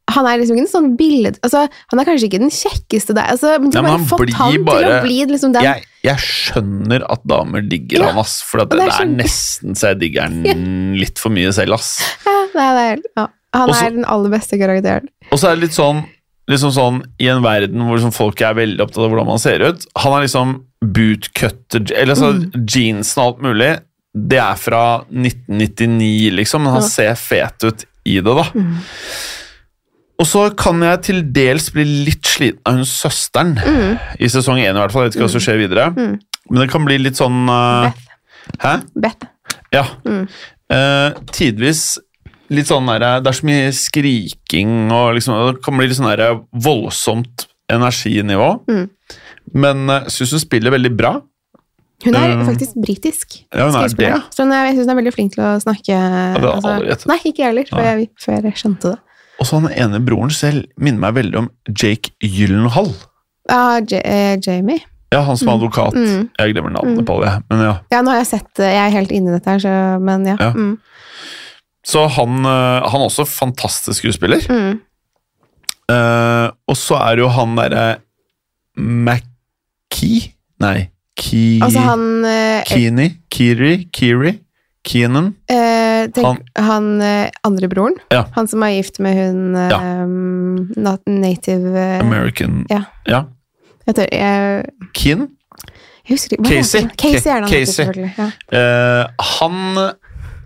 han er liksom ikke en sånn billed... Altså, han er kanskje ikke den kjekkeste der, altså, men de Nei, har bare men han fått blir han til å bare- bli liksom den Jeg, jeg skjønner at damer digger Ja. han, ass. For Og at det, det er sånn- er så- nesten så jeg digger han litt for mye selv, ass. Ja, Nei, det er, ja. Han Og så- er den aller beste karakteren. Og så er det litt sånn, liksom sånn I en verden hvor liksom folk er veldig opptatt av hvordan man ser ut Han er liksom bootcutter Eller altså jeans og alt mulig. Det er fra 1999, liksom, men han Ja. ser fet ut i det, da. Og så kan jeg til dels bli litt sliten av hun søsteren, i sesong én i hvert fall. Jeg vet ikke hva som skjer videre. Men det kan bli litt sånn eh, Hæ? Beth. Ja. Mm. Eh, tidvis litt sånn der, Det er så mye skriking og liksom, det kan bli litt sånn der voldsomt energinivå. Mm. Men eh, jeg syns hun spiller veldig bra. Hun er Um, faktisk britisk. Ja, hun er det. skuespiller. Så hun er, jeg syns hun er veldig flink til å snakke altså. det har jeg aldri gjettet. Nei, ikke jeg heller, før jeg, før jeg skjønte det. Og så han ene broren selv minner meg veldig om Jake Gyllenhaal. Ja, J eh, Jamie. Ja, han Mm. som er advokat. Jeg glemmer navnet på alle, jeg. men ja. Ja, nå har jeg sett eh, Jeg er helt inne i dette her, så Men ja. Ja. Mm, Så han, eh, han er også fantastisk skuespiller. mm. Eh, og så er det jo han derre McKee Nei, Key Altså han eh, Kini, Kiri, Kiri, Keenan. eh, tenk, Han, eh, andre broren. Ja. Han som er gift med hun eh, Ja. nat- native eh, American Ja. ja. jeg, tror, jeg, Keen. jeg husker ikke hva Casey. heter han? Casey er det han heter, Casey. selvfølgelig. Ja. Eh, han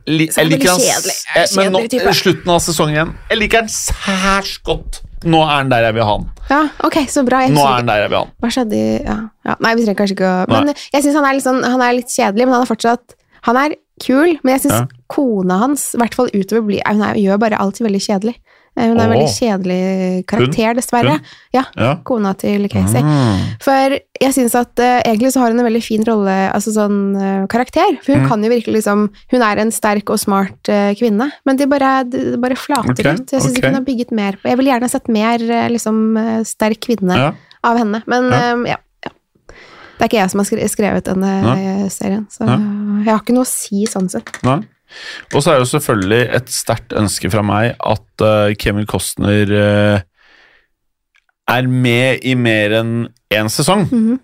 li, Så Jeg han er liker han veldig s- kjedelig. eh, Men nå, Kjedelig type. slutten av sesongen igjen. Jeg liker han særs godt. Nå er han der jeg vil ha han. ja, ok, så bra. Jeg husker Nå er ikke- han der jeg vil ha han. Hva skjedde i ja. ja. Nei, vi trenger kanskje ikke å Nei. Men jeg syns han, er litt sånn, han er litt kjedelig, men han er fortsatt Han er kul, men jeg syns Ja. kona hans, i hvert fall utover blir Hun er, gjør bare alltid veldig kjedelig. Eh, Hun er en Åh. veldig kjedelig karakter, dessverre. Hun? Ja. Ja. Kona til Casey. Mm. For jeg syns at eh, egentlig så har hun en veldig fin rolle, altså sånn eh, karakter. For hun Mm. kan jo virkelig liksom Hun er en sterk og smart eh, kvinne, men det bare, det det bare flater Ok, ut. Jeg syns ok. ikke hun har bygget mer på Jeg vil gjerne sett mer eh, liksom eh, sterk kvinne Ja. av henne. Men Ja. ehm, ja. ja. Det er ikke jeg som har skre- skrevet denne eh, serien, så Ja. jeg har ikke noe å si sånn sett. Nei. Og så er det jo selvfølgelig et sterkt ønske fra meg at eh, Kevin Costner eh, er med i mer enn én sesong.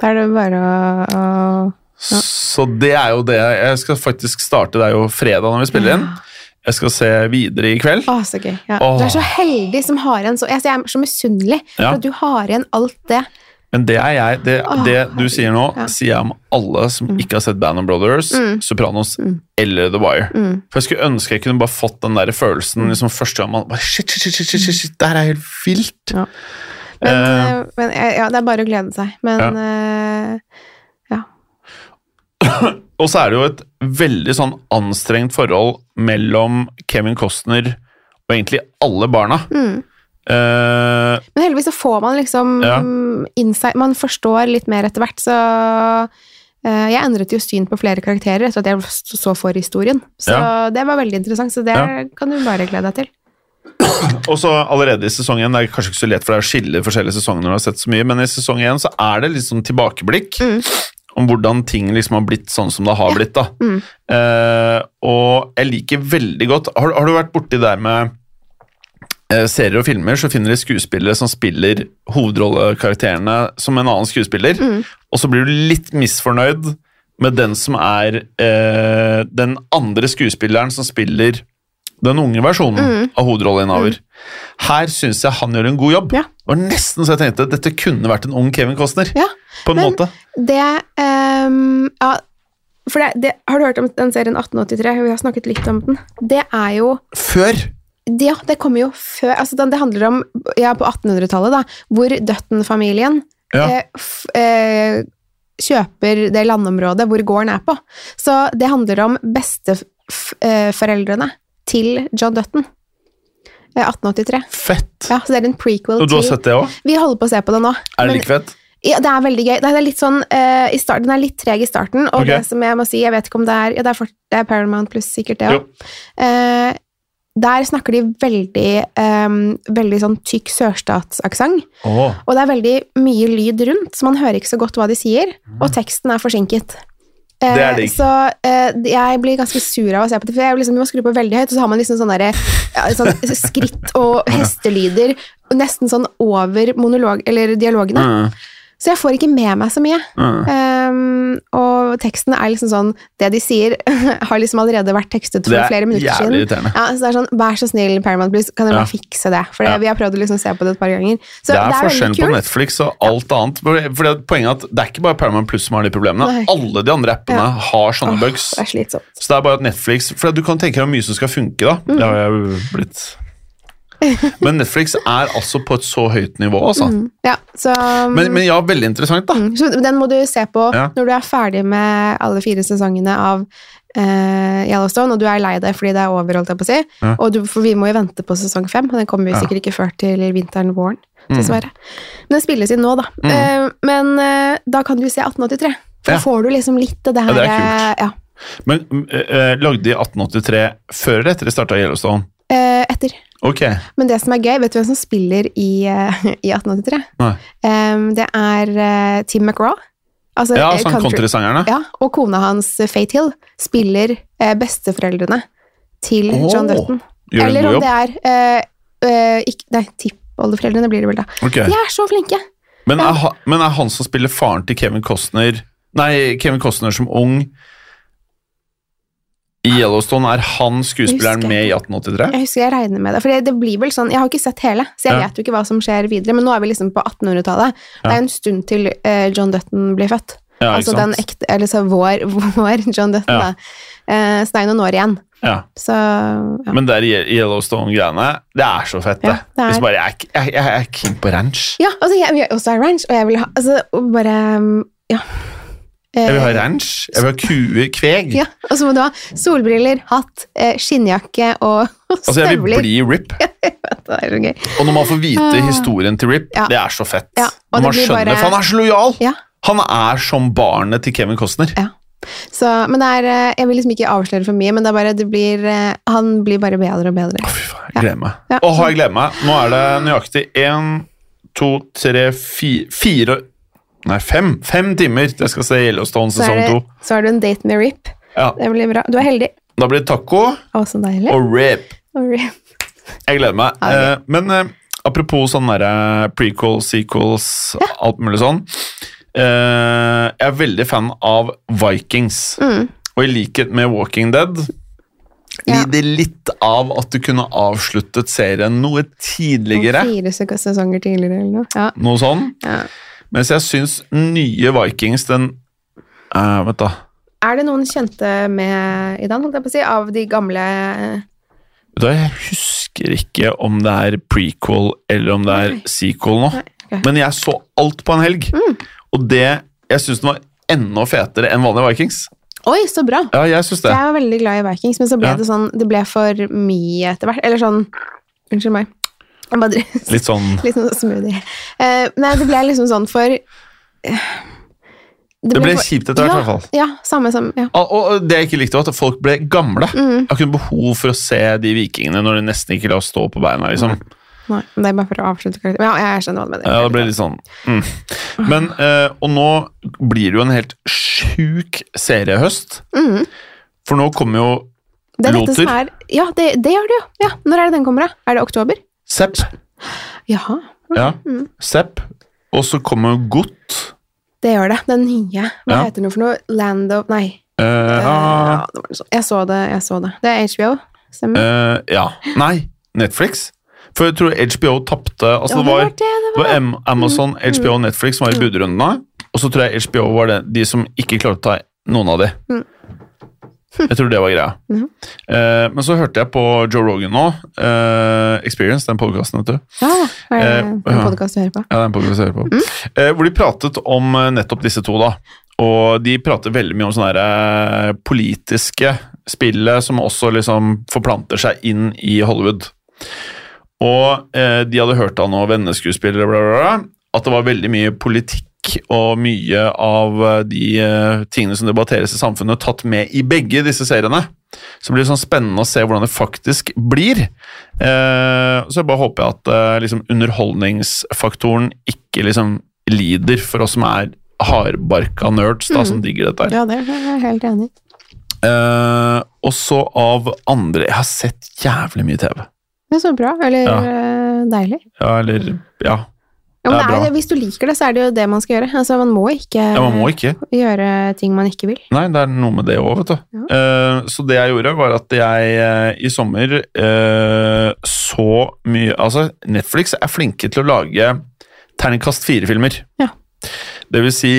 Da er det bare å, å Så det er jo det. Jeg skal faktisk starte, det er jo fredag når vi spiller inn. Jeg skal se videre i kveld. Å, så gøy. Ja. Åh. Du er så heldig som har igjen så Jeg jeg er så misunnelig Ja. for at du har igjen alt det. Men det er jeg. Det, Åh, det du sier nå, ja. Mm. sier jeg om alle som ikke har sett Band of Brothers, Sopranos eller The Wire. Mm. For jeg skulle ønske jeg kunne bare fått den der følelsen liksom første gang man bare, shit, shit, shit, shit, shit, shit, shit, det her er helt vilt. Ja. Men, eh, men eh, ja, det er bare å glede seg. Men eh, ja. Og så er det jo et veldig sånn anstrengt forhold mellom Kevin Costner og egentlig alle barna. hmm. Eh, Men heldigvis så får man liksom Ja. insight Man forstår litt mer etter hvert, så eh, Jeg endret jo syn på flere karakterer etter at jeg s- så for historien. Så Ja. det var veldig interessant, så det Ja. kan du bare glede deg til. Og så allerede i sesong 1, det er kanskje ikke så lett for deg å skille forskjellige sesonger når du har sett så mye, men i sesong 1 så er det litt sånn tilbakeblikk om hvordan ting liksom har blitt sånn som det har blitt, da. Mm. Eh, og jeg liker veldig godt Har, har du vært borti der med eh, serier og filmer, så finner de skuespillere som spiller hovedrollekarakterene som en annen skuespiller, Mm. og så blir du litt misfornøyd med den som er eh, den andre skuespilleren som spiller Den unge versjonen Mm. av hovedrolleinnehaver. Her syns jeg han gjør en god jobb. Ja. Det var nesten så jeg tenkte dette kunne vært en ung Kevin Costner. Ja, På en men- måte. Det ehm, Ja, for det, det Har du hørt om den serien 1883? Vi har snakket litt om den. Det er jo Før! det- Ja, det kommer jo før altså den, Det handler om ja, på 1800-tallet, da, hvor Dutton-familien Ja. eh, f, eh, kjøper det landområdet hvor gården er på. Så det handler om besteforeldrene eh, til John Dutton. Eh, 1883. Fett. Ja, så det er en prequel Og du har til sett det òg? Vi holder på å se på det nå. Er men- det like fett? ja, det er veldig gøy. Den er litt sånn eh, i starten, den er litt treg i starten, og Ok. det som jeg må si, jeg vet ikke om det er Ja, det er, fort, det er Paramount pluss sikkert det Jo. òg. Eh, der snakker de veldig eh, veldig sånn tykk sørstatsaksent, Åh. og det er veldig mye lyd rundt, så man hører ikke så godt hva de sier, og teksten er forsinket. Eh, Mm. Det er digg. så eh, jeg blir ganske sur av å se på det, for jeg er liksom, du må skru på veldig høyt, og så har man liksom sånne der, ja, sånn skritt og hestelyder, og nesten sånn over monolog, eller dialogene. Mm, Så jeg får ikke med meg så mye. mm. Ehm, og teksten er liksom sånn Det de sier, har liksom allerede vært tekstet for Det er flere minutter siden. jævlig irriterende. Ja, så det er sånn, Vær så snill, Paramount Blues, kan dere Ja. bare fikse det? For det- Ja. vi har prøvd å liksom se på det et par ganger. Så Det er veldig forskjellen på kult. Netflix og alt annet. Fordi at Poenget er at det er ikke bare Paramount Plus som har de problemene. Nei. Alle de andre appene Ja. har sånne Åh, bugs. Det er slitsomt. Så det er bare at Netflix For du kan tenke deg hvor mye som skal funke, da. Mm. Det har jeg jo blitt. Men Netflix er altså på et så høyt nivå, altså. Ja, så, Men, men ja, veldig interessant, da. mm, så den må du se på Ja. når du er ferdig med alle fire sesongene av eh, Yellowstone, og du er lei deg fordi det er over, holdt jeg på å si. Ja. Og du, for vi må jo vente på sesong fem, og den kommer jo Ja. Mm. sikkert ikke før til vinteren-våren. dessverre. Men den spilles inn nå, da. Eh, men eh, da kan du se 1883. For Ja. da får du liksom litt av det her Ja, det er eh, ja. Men eh, eh, lagde de 1883 før eller etter de starta Yellowstone? Eh, etter. Ok. Men det som er gøy, vet du hvem som spiller i, eh, i 1883? Nei. Eh, det er eh, Tim McRaw. Altså, Ja, eh, sånn countrysangerne. Ja, og kona hans, eh, Faith Hill, spiller eh, besteforeldrene til Åh, John Dutton. Gjør en Eller god om jobb. det er eh, eh, ikk- Nei, tippoldeforeldrene blir det vel, da. Ok. De er så flinke! Men, er, ha- men er han som spiller faren til Kevin Costner Nei, Kevin Costner som ung i Yellowstone, er han skuespilleren Husker jeg med i 1883? Jeg husker jeg regner med det, for det, det blir vel sånn, jeg har ikke sett hele, så jeg Ja. vet jo ikke hva som skjer videre, men nå er vi liksom på 1800-tallet. Det er jo en stund til eh, John Dutton blir født. Ja, altså den ekte, eller så vår, vår John Dutton Ja. da. Eh, så det er jo noen år igjen. Ja. Så, ja. Men der Ye- Yellowstone-greiene, det er så fett, det. Ja, det er- Hvis bare, jeg, er ikke- jeg, jeg er keen på ranch. Ja, altså jeg vil også ha ranch, og jeg vil ha, altså og bare, um, ja. Eh, Jeg vil ha ranch, jeg vil ha kuer, kveg. Ja, og så må du ha solbriller, hatt, eh, skinnjakke og, og altså, jeg vil støvler. bli Rip. Det er så gøy. Og når man får vite historien til Rip, Ah. Ja. det er så fett. Ja, og Når det man blir skjønner, bare- For han er så lojal! Ja. Han er som barnet til Kevin Costner. Ja. Så, men det er, eh, jeg vil liksom ikke avsløre for mye, men det er bare, det blir, eh, han blir bare bedre og bedre. Å, fy faen, jeg gleder meg. Ja. Åh, jeg gleder meg. Nå er det nøyaktig én, to, tre, fi- fire Nei, fem. Fem timer til jeg skal se Yellowstone Så, sesong er to. det, så har du en date med Rip. Ja. Det blir bra. Du er heldig. Da blir det taco Å, så deilig. og rip. Og Rip. Jeg gleder meg. Ja, det Eh, men eh, apropos sånne derre prequel, sequels, alt mulig sånn. Eh, jeg er veldig fan av Vikings. Og i likhet med Walking Dead Mm. Ja. lider litt av at du kunne avsluttet serien noe tidligere. Fire sek- sesonger tidligere eller noe. Ja. Noe sånn. Ja. Mens jeg syns nye Vikings, den eh, Vent, da. Er det noen kjente med i den, holdt jeg på å si, av de gamle eh, Vet du hva, Jeg husker ikke om det er prequel eller om det er Nei. sequel nå. Nei, Mm. ok. Men jeg så alt på en helg. Og det Jeg syns den var enda fetere enn vanlige Vikings. Oi, så bra! Ja, jeg synes det. Jeg var veldig glad i Vikings, men så ble Ja. det sånn Det ble for mye etter hvert. Eller sånn Unnskyld meg. Jeg bare Litt sånn Litt sånn smoothie. Eh, nei, det ble liksom sånn for eh, Det ble for- kjipt etter hvert, ja, i hvert fall. Ja, samme som ja. Ah, Og- Og det jeg ikke likte, var at folk ble gamle. Mm. Jeg har ikke noe behov for å se de vikingene når de nesten ikke la oss stå på beina. liksom. Nei, men det er bare for å avslutte karakteren. Men Ja, jeg skjønner hva du mener. Ja, det ble litt sånn mm. Men, eh, Og nå blir det jo en helt sjuk seriehøst. For nå kommer jo Det er dette som Loter. er Ja, det, det gjør det jo. Ja, når er det den kommer, da? Er det oktober? Sepp. Jaha, Ja, Sepp. Og så kommer Godt. det gjør det. Den nye. Hva Ja. heter den for noe? Land of Nei. Eh, Eh, ah, ja, det var noe sånt. Jeg så det, jeg så det. Det er HBO. Stemmer. Eh, ja. Nei, Netflix. For jeg tror HBO tapte Ja, altså det, var, det var det, det det var Am- Amazon, HBO og Netflix som var i budrundene. Og så tror jeg HBO var det, de som ikke klarte å ta noen av de. Jeg tror det var greia. Eh, men så hørte jeg på Joe Rogan nå. eh, Experience, den podkasten, vet du. Ja, hva er det eh, en podkast du hører på? Ja, den podcasten jeg hører på. Eh, hvor de pratet om eh, nettopp disse to, da. Og de prater veldig mye om sånne her, eh, politiske spillet som også liksom forplanter seg inn i Hollywood. Og eh, de hadde hørt av noen venneskuespillere bla, bla, bla, at det var veldig mye politikk og mye av eh, de eh, tingene som debatteres i samfunnet, tatt med i begge disse seriene. Så det blir sånn spennende å se hvordan det faktisk blir. Eh, så jeg bare håper jeg at eh, liksom underholdningsfaktoren ikke liksom lider for oss som er hardbarka nerds, da, som digger dette her. Ja, det er jeg helt enig i. Eh, og så av andre Jeg har sett jævlig mye TV. Men så bra. Eller Ja. eh, deilig. Ja, eller Ja, Ja, men Det det er er bra. det, hvis du liker det, så er det jo det man skal gjøre. Altså, man må ikke, eh, ja man må ikke. gjøre ting man ikke vil. Nei, det er noe med det òg, vet du. Eh, så det jeg gjorde, var at jeg eh, i sommer eh, så mye Altså, Netflix er flinke til å lage terningkast fire-filmer. Ja. Det vil si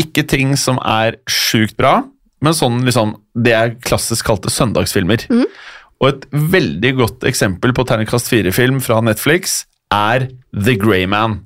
ikke ting som er sjukt bra, men sånn liksom Det jeg klassisk kalte søndagsfilmer. Og et veldig godt eksempel på terningkast fire-film fra Netflix er The Grey Man.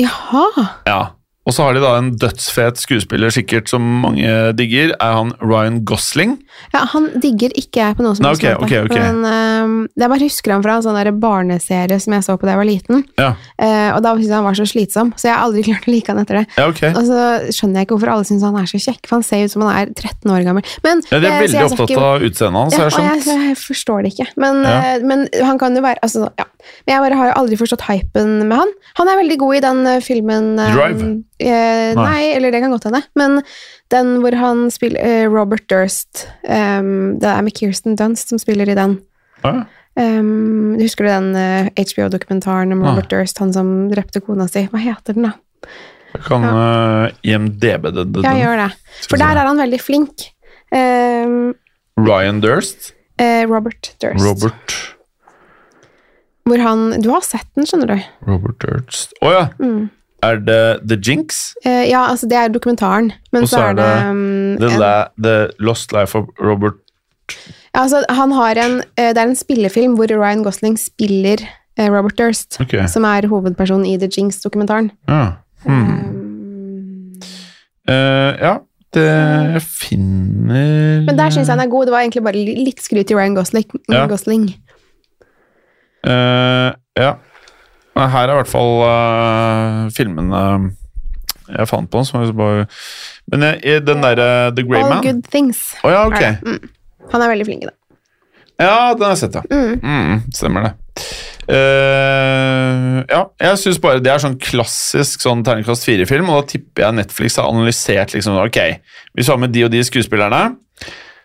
Jaha! Ja. Og så har de da en dødsfet skuespiller sikkert som mange digger, er han Ryan Gosling. Ja, han digger ikke jeg på noen som Nei, helst ok, måte. ok, ok. Men ehm, jeg bare husker han fra en sånn der barneserie som jeg så på da jeg var liten. Ja, Eh, og da syntes jeg han var så slitsom, så jeg har aldri klart å like han etter det. ja ok. Og så Altså, skjønner jeg ikke hvorfor alle syns han er så kjekk, for han ser ut som han er 13 år gammel. Men, Ja, de eh, er så veldig jeg skal opptatt ikke- av altså, utseendet hans, ja, har og jeg jeg, skjønt. jeg forstår det ikke. Men, Ja. eh, men han kan jo være altså, ja. Men jeg bare har jo aldri forstått hypen med han. Han er veldig god i den eh, filmen eh, Drive? Eh, nei. Nei. eller det kan godt hende. Men den hvor han spiller eh, Robert Durst eh, Det er med Kirsten Dunst som spiller i den. Ja. Eh, husker du den HBO-dokumentaren om Robert Durst, han som drepte kona si? Hva heter den, da? Jeg kan eh, IMDb det, det, Ja, det. gjør det. For der er han veldig flink. Eh, Ryan Durst. eh, Robert Durst. Robert Hvor han Du har sett den, skjønner du. Robert Durst. Å ja! Mm. Er det The Jinx? Eh, ja, altså det er dokumentaren. Men Og så er det, um, The, en, La, the Lost Life of Robert ja, altså, han har en, eh, Det er en spillefilm hvor Ryan Gosling spiller eh, Robert Durst, Ok. som er hovedpersonen i The Jinx-dokumentaren. Ja. Hmm. Eh, ja. Det jeg finner Mm. Men der syns jeg han er god. Det var egentlig bare li- litt skryt til Ryan Gosling. Ja. Gosling. Eh, ja. Nei, her er i hvert fall eh, filmene jeg fant på. Som jeg bare... Men jeg, i den derre The Grey All Man Å good things. ja, ok. Er det. Han er veldig flink i det. Ja, den har jeg sett, ja. Mm, stemmer det. Eh, ja, jeg synes bare det er sånn klassisk sånn terningkast fire-film, og da tipper jeg Netflix har analysert liksom Ok, hvis vi har med de og de skuespillerne,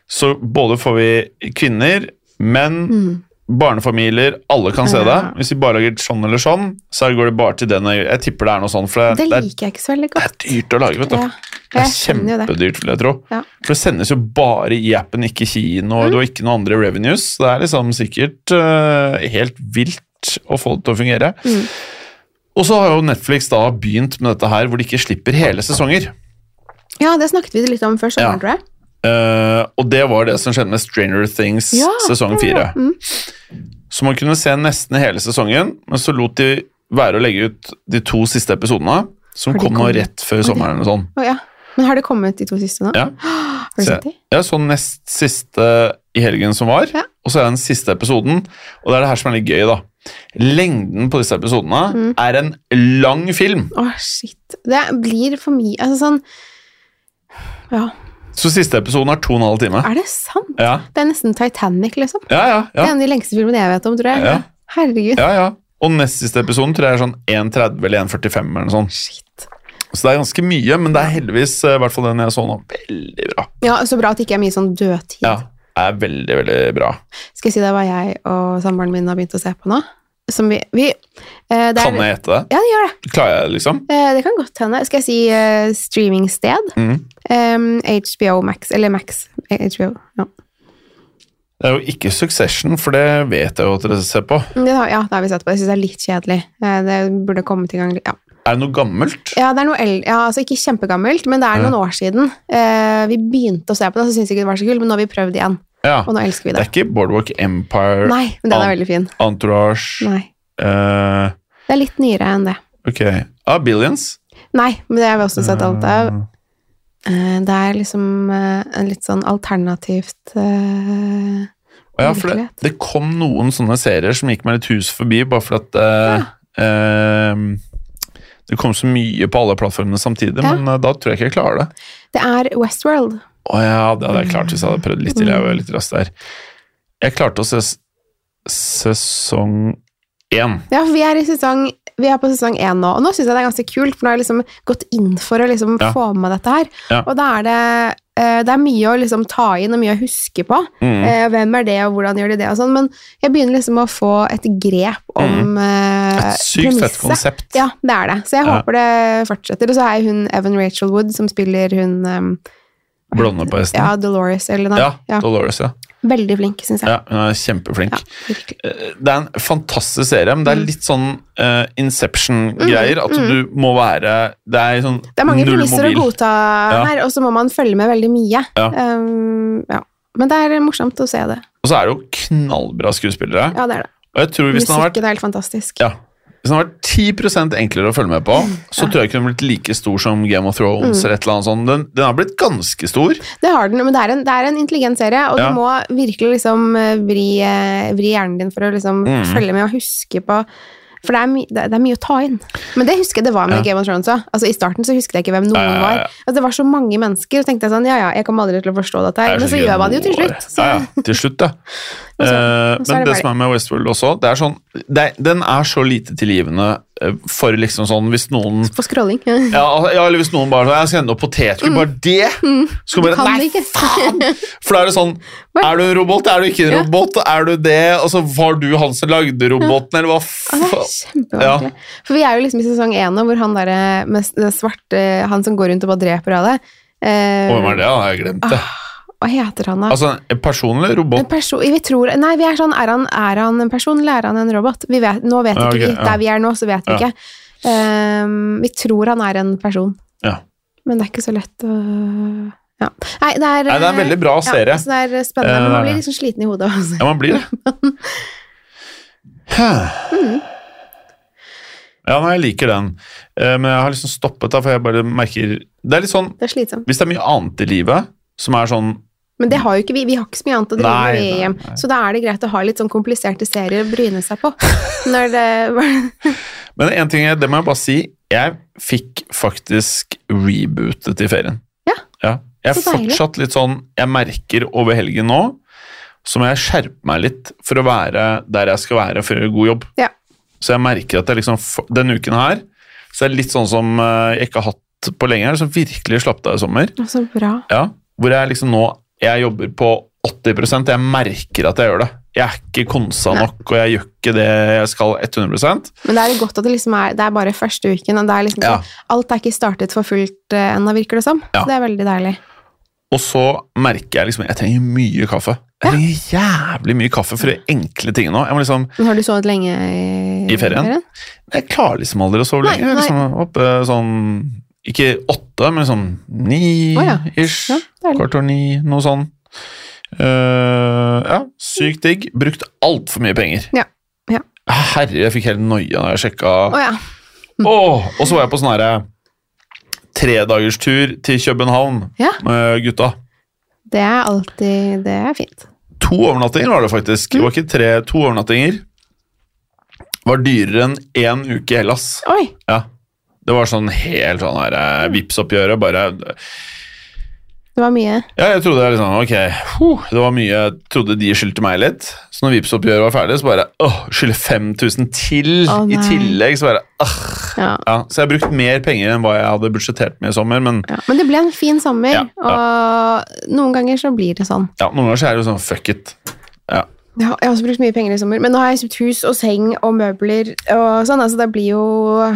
så både får vi kvinner, menn, barnefamilier Alle kan se det. Ja. Hvis vi bare lager sånn eller sånn, så går det bare til den og Jeg tipper det er noe sånn, for det, Det det, er, liker jeg ikke så veldig det godt. er dyrt å lage, vet du. Ja, Det er jeg skjønner jo det. kjempedyrt, vil jeg tro. Ja. Mm. For det sendes jo bare i appen, ikke i kino. og Du har ikke noen andre revenues. så Det er liksom sikkert eh, helt vilt å få det til å fungere. Mm. Og så har jo Netflix da begynt med dette her, hvor de ikke slipper hele sesonger. Ja, det snakket vi litt om før sommeren, tror jeg. Eh, og det var det som skjedde med Stranger Things Ja, sesong fire. Mm. Så man kunne se nesten hele sesongen, men så lot de være å legge ut de to siste episodene, som For de kom nå kom- rett før sommeren. og sånn. Å, ja. Men har det kommet de to siste nå? Ja. Har du Så sett jeg, de? jeg så nest siste i helgen som var, Ja. og så er den siste episoden. Og det er det her som er litt gøy, da. Lengden på disse episodene Mm. er en lang film. Å, shit. Det blir for mye Altså sånn Ja, Så siste episoden er to og en halv time. er det sant? Ja, Det er nesten Titanic, liksom. ja, ja. Det ja, er en av de lengste filmene jeg vet om, tror jeg. Ja. Herregud. ja, ja. Og nest siste episoden tror jeg er sånn 1.30 eller 1.45 eller noe sånt. Shit. Så det er ganske mye, men det er heldigvis, eh, i hvert fall den jeg så nå, veldig bra. Ja, Så bra at det ikke er mye sånn dødtid. Ja, er veldig, veldig bra. Skal jeg si deg hva jeg og samboeren min har begynt å se på nå? Som vi, vi eh, det er- Kan jeg gjette det? Ja, det gjør det. Klarer jeg det, liksom? Eh, det kan godt hende. Skal jeg si eh, streamingsted? Mm. Eh, HBO Max, eller Max eh, HBO. Ja. Det er jo ikke Succession, for det vet jeg jo at dere ser på. Men Det har, ja, det har vi sett på. Jeg syns det er litt kjedelig. Eh, Det burde kommet i gang litt- ja. Er det noe gammelt? Ja, det er noe el ja, altså ikke kjempegammelt, men det er Ja. noen år siden. Eh, vi begynte å se på det, så syntes vi ikke det var så kult, men nå har vi prøvd igjen. Ja. Og nå elsker vi Det det. er ikke Boardwalk Empire, Nei, men den er veldig fin. Entourage Nei. eh, Det er litt nyere enn det. Ok. Ah, Billions. Nei, men det har vi også sett alt av. Eh, Eh, det er liksom eh, en litt sånn alternativt eh, Ja, for det, Virkelighet. det kom noen sånne serier som gikk meg litt hus forbi, bare for at eh, eh, Det kom så mye på alle plattformene samtidig, Ja. men eh, da tror jeg ikke jeg klarer det. Det er Westworld. Å ja, det hadde jeg klart hvis jeg hadde prøvd litt til. Jeg var litt rask der. Jeg klarte å se s- sesong én. Ja, for vi er, i sesong, vi er på sesong én nå, og nå syns jeg det er ganske kult, for nå har jeg liksom gått inn for å liksom Ja. få med dette her. Ja. Og da er det eh, det er mye å liksom ta inn og mye å huske på. Mm. Eh, hvem er det, og hvordan gjør de det, og sånn. Men jeg begynner liksom å få et grep om eh, Mm. Et sykt fett premisset. konsept. Ja, det er det. Så jeg Ja. håper det fortsetter. Og så er hun Evan Rachel Wood, som spiller hun eh, Blonde på hesten. ja, Dolores, eller noe. Mm. Ja, Dolores, ja. Veldig flink, syns jeg. ja. Hun er kjempeflink. Ja, virkelig. Eh, Det er en fantastisk serie, men det Mm. er litt sånn eh, Inception-greier. At du må være Det er sånn Det er mange null premisser å mobil. godta Ja. her, og så må man følge med veldig mye. Ja. Um, ja. Men det er morsomt å se det. Og så er det jo knallbra skuespillere. Ja, det er det. Og jeg tror hvis den hadde vært, Musikken er helt fantastisk. ja, hvis den hadde vært 10 enklere å følge Mm, med på, så tror jeg ikke den blitt like stor som Game of Thrones. eller et eller annet sånt. Den, den har blitt ganske stor. Det har den, men det er en, det er en intelligent serie, og Ja. du må virkelig liksom eh, vri, eh, vri hjernen din for å liksom Mm. følge med og huske på For det er, my, det, er- det er mye å ta inn. Men det husker jeg det var med Ja. Game of Thrones òg. Altså, I starten så husket jeg ikke hvem noen Ja, ja, ja. var. Altså, det var så mange mennesker, og tenkte jeg sånn ja ja, jeg kommer aldri til å forstå dette her. Det Men er så sikkert gjør man det jo til noe- slutt. Så, Ja, ja, til slutt, ja. Og så- Eh, og så er men det det som ferdig. er med Westworld også, det er sånn, det, er- den er så lite tilgivende eh, for liksom sånn hvis noen På scrolling. ja, al- ja, eller hvis noen bare sånn, jeg skal hente opp potetgull, bare det! Så kan Mm. Du man kan bare, nei, ikke. faen! For da er det sånn, Hva? er du en robot, er du ikke en Ja. Mm. robot, er du det, og så var du han som lagde roboten, eller hva Ja, det faen? er kjempevanskelig. For vi er jo liksom i sesong én nå, hvor han der eh, med s- det svarte Han som går rundt og bare dreper alle eh, ah, Å, Hvem er det? da? Jeg har glemt det. Hva heter han, da? Altså, en personlig En robot. person, vi tror, nei, vi er sånn Er han, er han en person, eller er han en robot? Vi vet, nå vet ikke Ja, ok, vi. ja. Der vi er nå, så vet vi Ja. ikke. Ehm, vi tror han er en person, Ja. men det er ikke så lett å ja. Nei, det er, Nei, det er en veldig bra serie. Ja, altså. så det er spennende, Eh, men det er man blir det. liksom sliten i hodet. Altså. Ja, man blir det. Hæ. Ja, nei, jeg liker den. Eh, Men jeg har liksom stoppet da, for jeg bare merker Det er litt sånn, Det er slitsomt. hvis det er mye annet i livet som er sånn Men det har jo ikke vi. Vi har ikke så mye annet å drive Nei, med i nei, hjem, nei. så da er det greit å ha litt sånn kompliserte serier å bryne seg på. Når det, Men en ting, jeg- det må jeg bare si. Jeg fikk faktisk rebootet i ferien. Ja, Jeg er så deilig. fortsatt litt sånn Jeg merker over helgen nå, så må jeg skjerpe meg litt for å være der jeg skal være for å gjøre god jobb. Ja. Så jeg merker at jeg liksom f- Denne uken her så er det litt sånn som eh, jeg ikke har hatt på lenge, her, som virkelig slappet av i sommer. Å, så bra. Ja, hvor jeg liksom nå Jeg jobber på 80 Jeg merker at jeg gjør det. Jeg er ikke konsa nok, og jeg gjør ikke det jeg skal 100 Men det er godt at det liksom er, det er bare første uken, og det er liksom ikke, Ja. alt er ikke startet for fullt eh, ennå, virker det som. Ja. Det er veldig deilig. Og så merker jeg liksom Jeg trenger mye kaffe. Jeg trenger jævlig mye kaffe for de enkle tingene òg. Jeg, må liksom, Men har du sovet lenge i, I ferien? jeg klarer liksom aldri å sove Nei, lenge. Jeg er liksom oppe sånn Ikke åtte, men sånn ni Å ja. ish. Ja, deilig. Kvart over ni, noe sånn. Eh, ja, sykt digg. Brukt altfor mye penger. Ah, Ja, ja. Herre, jeg fikk helt noia da jeg sjekka. Å ja. Mm. Åh, og så var jeg på sånn herre tredagerstur til København Ja. med gutta. Det er alltid Det er fint. To overnattinger var det faktisk. Det var ikke tre, to overnattinger. Var dyrere enn én uke i Hellas. Oi! Ja. Det var sånn helt sånn her eh, Vipps-oppgjøret, bare Det var mye. Ja, jeg trodde liksom Ok, huh, det var mye Jeg trodde de skyldte meg litt. Så når Vipps-oppgjøret var ferdig, så bare Åh, skylder 5000 til Å, i nei. tillegg. Så bare ah. Ja. ja, Så jeg har brukt mer penger enn hva jeg hadde budsjettert med i sommer, men Ja. Men det ble en fin sommer, Ja, og noen ganger så blir det sånn. ja, noen ganger så er det jo sånn fuck it. Ja. Ja, jeg har også brukt mye penger i sommer, men nå har jeg kjøpt hus og seng og møbler og sånn, altså det blir jo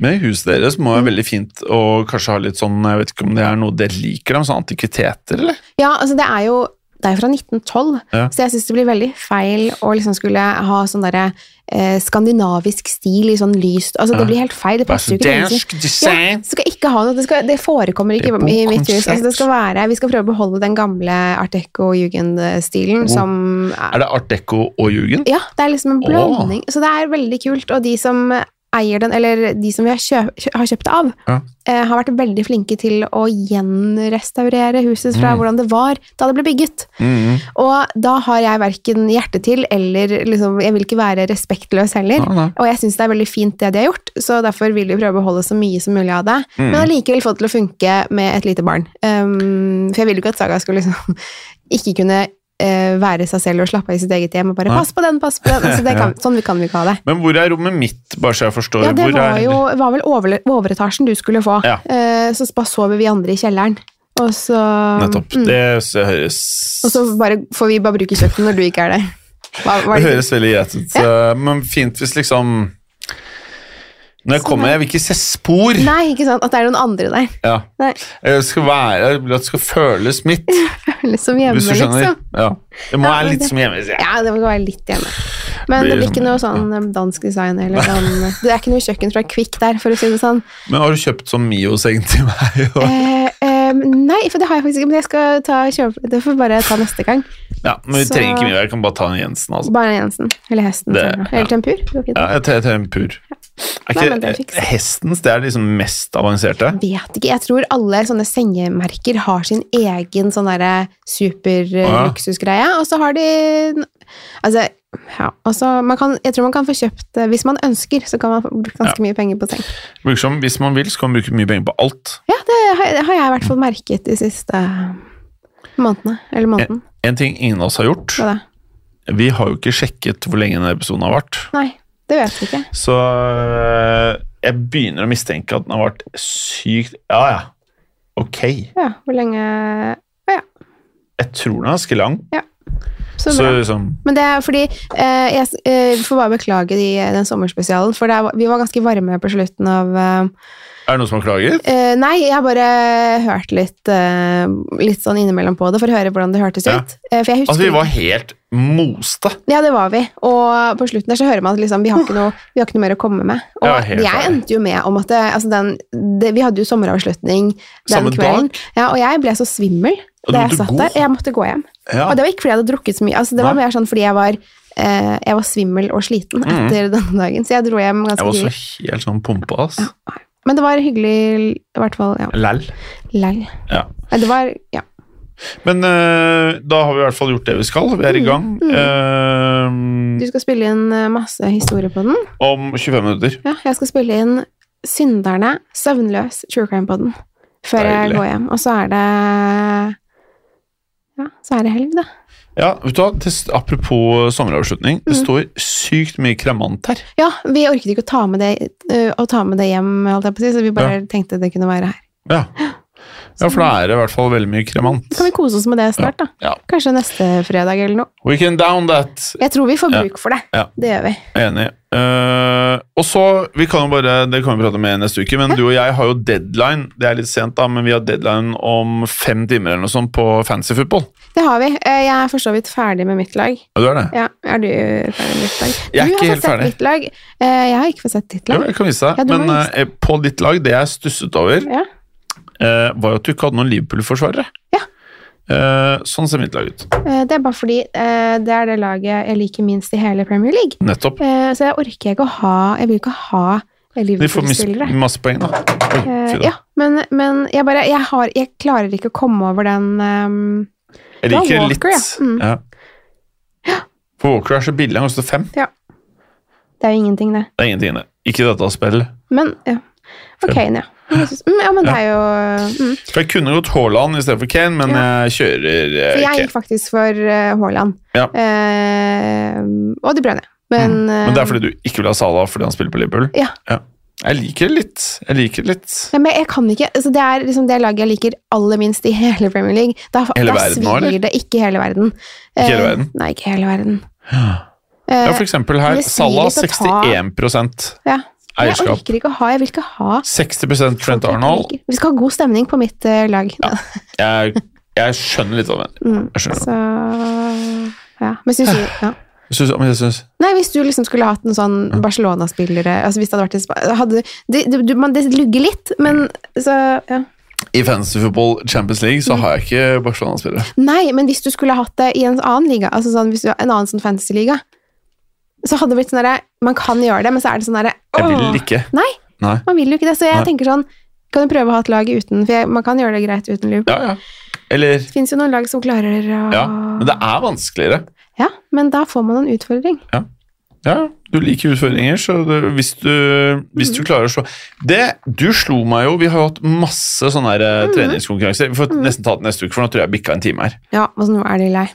Med huset deres må være veldig fint å kanskje ha litt sånn Jeg vet ikke om det er noe dere liker, da, men sånn antikviteter, eller? Ja, altså det er jo det er jo fra 1912, Ja. så jeg syns det blir veldig feil å liksom skulle ha sånn derre eh, skandinavisk stil i sånn lyst Altså, det Ja. blir helt feil. Det passer jo ikke. til dansk mennesker. Ja, design. det skal ikke ha noe. Det, skal, det forekommer ikke Det i er mitt hus. bokkonsept. Altså, det skal være, vi skal prøve å beholde den gamle art deco-jugend-stilen Oh. som er, Er det art deco og jugend? Ja, det er liksom en Åh. blanding. Så det er veldig kult. Og de som eier den, eller de som vi har, kjøp, kjø- har kjøpt det av, Ja. eh, har vært veldig flinke til å gjenrestaurere huset fra Mm. hvordan det var da det ble bygget. Mm. Og da har jeg verken hjerte til, eller liksom, jeg vil ikke være respektløs heller. Nei, nei. Og jeg syns det er veldig fint det de har gjort, så derfor vil de prøve å beholde så mye som mulig av det. Mm. Men allikevel få det til å funke med et lite barn. Um, for jeg ville jo ikke at Saga skulle liksom ikke kunne eh, være seg selv og slappe av i sitt eget hjem og bare Nei. 'pass på den, pass på den'. Altså, det kan, sånn vi kan vi ikke ha det. Men hvor er rommet mitt, bare så jeg forstår? Ja, det hvor var er, jo var vel over, overetasjen du skulle få, Ja. Eh, så bare sover vi andre i kjelleren. Og så, Nettopp. Mm. Det s- høres og så bare, får vi bare bruke kjøkkenet når du ikke er der. Hva, hva Det er det? høres veldig greit ut. eh, Men fint hvis liksom Når jeg Så kommer, nei. jeg vil ikke se spor. Nei, ikke sant? At det er noen andre der. Ja. Nei, Jeg skal være, jeg vil at det skal føles mitt, Føles som hjemme, hvis du skjønner. liksom. Ja. Det må Ja, være men litt det- som hjemme. sier jeg. Ja, det må være litt hjemme. Men Blir det blir som- ikke noe sånn eh, dansk design eller sånn Det er ikke noe kjøkken fra Kvikk der, for å si det sånn. Men har du kjøpt sånn Mio-seng til meg? Og, Eh, eh, nei, for det har jeg faktisk ikke, men jeg skal ta kjøpe Det får vi bare ta neste gang. ja, men vi så- trenger ikke Mio, jeg kan bare ta den Jensen, altså. Bare Jensen. Eller Hesten. Det- senere. Eller Tempur. det går fint. Ja, jeg tar jeg tar en pur. Er Nei, men det ikke fikser jeg. hestens det er liksom mest avanserte? Vet ikke. Jeg tror alle sånne sengemerker har sin egen sånn derre Å, ja. superluksusgreie, og så har de Altså, ja. Og så man kan, jeg tror man kan få kjøpt eh, Hvis man ønsker, så kan man få brukt ganske mye penger på seng. Bruker som, hvis man vil, så kan man bruke mye penger på alt. Ja, det har, det har jeg i hvert fall merket de siste månedene. Eller måneden. En ting ingen av oss har gjort, Hva da? vi har jo ikke sjekket hvor lenge denne episoden har vært. Nei, det vet vi ikke. Så øh, jeg begynner å mistenke at den har vært sykt Ja, ja. Ok. Ja, hvor lenge Å ja, Jeg tror den er ganske lang. så Så bra. liksom Men det er fordi eh, jeg s- eh, får bare beklage de, den sommerspesialen, for det er, vi var ganske varme på slutten av eh, Er det noen som har klaget? Eh, nei, jeg har bare hørt litt, eh, litt sånn innimellom på det, for å høre hvordan det hørtes Ja. ut. Eh, for jeg husker Altså, vi var helt moste. Ja, det var vi. Og på slutten der så hører man at liksom, vi, har ikke noe, vi har ikke noe mer å komme med. Og Ja, helt jeg enig. endte jo med om at det, altså den, det, Vi hadde jo sommeravslutning den Samme kvelden. Ja, og jeg ble så svimmel Og du da jeg måtte satt gå? der. Jeg måtte gå hjem. Ja. Og det var ikke fordi jeg hadde drukket så mye. Altså, det var Nei. Mm. mer sånn fordi jeg var, eh, jeg var svimmel og sliten etter denne dagen, så jeg dro hjem Jeg ganske var så tidlig. helt sånn pumpa, ass. Men det var hyggelig, i hvert fall. Ja. Læll. Lell. Ja. Nei, Det var Ja. Men øh, da har vi i hvert fall gjort det vi skal. Vi Mm. er i gang. Du Øh, skal spille inn eh, masse historier på den. om 25 minutter. Ja, jeg skal spille inn Synderne, Søvnløs, True Crime på den. Før jeg Deilig. går hjem. Og så er det Ja, så er det helg, da. Ja, vet du hva? Det, s- apropos sommeravslutning. Det Mm. står sykt mye kremant her. Ja, vi orket ikke å ta med det, eh, å ta med det hjem, holdt jeg på å si, så vi bare tenkte det kunne være her. Ja. ja, for da er det i hvert fall veldig mye kremant. Kan vi kose oss med det snart, da? Ja. Kanskje neste fredag eller noe. We can down that. Jeg tror vi får Ja. bruk for det. Ja. Det gjør vi. Enig. Eh, og så, vi kan jo bare, Det kan vi prate med neste uke, men du og jeg har jo deadline. Det er litt sent, da, men vi har deadline om fem timer eller noe sånt på fancy football. Det har vi. Eh, Jeg er for så vidt ferdig med mitt lag. Ja, du er det? Ja, er du ferdig med ditt lag? Jeg er du ikke har helt fått sett ferdig. mitt lag. Eh, Jeg har ikke fått sett ditt Jo, lag. jeg kan vise deg. Ja, du må men vise eh, på ditt lag, det jeg stusset over, Ja. eh, var jo at du ikke hadde noen Liverpool-forsvarere. Ja. Eh, sånn ser mitt lag ut. Eh, Det er bare fordi eh, det er det laget jeg liker minst i hele Premier League. Nettopp. Eh, Så jeg orker ikke å ha Jeg vil ikke ha De får mis Mm, Liverpool-spillere. masse poeng, da. Oi, Eh, fy da. Ja, men, men jeg bare jeg, har, jeg klarer ikke å komme over den ehm, Jeg Ja, liker det litt. Walker, ja. Mm. Ja. For Walker er så billig, han koster fem. Det er jo ingenting, det. Det er ingenting, det. Ikke i dette spillet. Men ja. For Kane, ja. Men jeg synes- mm, Ja, men det er jo mm. For jeg kunne gått Haaland istedenfor Kane, men jeg kjører eh, For jeg Kane. gikk faktisk for eh, Haaland. Ja. Mm. Eh, og De Bruyne. Men, Men det eh, er fordi du ikke vil ha Salah fordi han spiller på Liverpool? Ja. Jeg liker det litt. Jeg liker det litt. Ja, men jeg kan ikke, altså Det er liksom det laget jeg liker aller minst i hele Premier League. Da, Hele da verden nå, eller? svir det ikke hele verden. Eh, Ikke hele verden? Nei, ikke hele verden. Ja, Eh, for eksempel her. det svir Salah litt å ta- 61 ja. Men Jeg eierskap. orker ikke å ha, jeg vil ikke ha folk 60 Trent jeg ikke Arnold. liker. Vi skal ha god stemning på mitt eh, lag. Jeg Jeg skjønner litt av det. Mm. Jeg skjønner. Så ja. Men syns du ja. Jeg synes, men jeg synes, Nei, hvis du liksom skulle hatt en sånn Barcelona-spillere altså Hvis det hadde vært en spa- hadde, det, det, du- man, det lugger litt, men så ja. I fantasy football Champions League Mm. så har jeg ikke Barcelona-spillere. Nei, men hvis du skulle hatt det i en annen liga, altså sånn, hvis du har en annen sånn fantasy-liga, så hadde det blitt sånn derre Man kan gjøre det, men så er det sånn derre Jeg åh, vil ikke. Nei, Nei. man vil jo ikke det. Så jeg Nei. tenker sånn Kan du prøve å ha et lag uten For jeg, man kan gjøre det greit uten Liverpool. Ja, ja. Eller Det fins jo noen lag som klarer å Ja. Men det er vanskeligere. Ja, men da får man en utfordring. Ja, du liker utfordringer, så du, hvis, du, hvis Mm. du klarer å slå Det, Du slo meg jo Vi har jo hatt masse sånne her, Mm. eh, treningskonkurranser. Vi får nesten ta det neste uke, for nå tror jeg jeg bikka en time her. Ja, og så nå er de lei.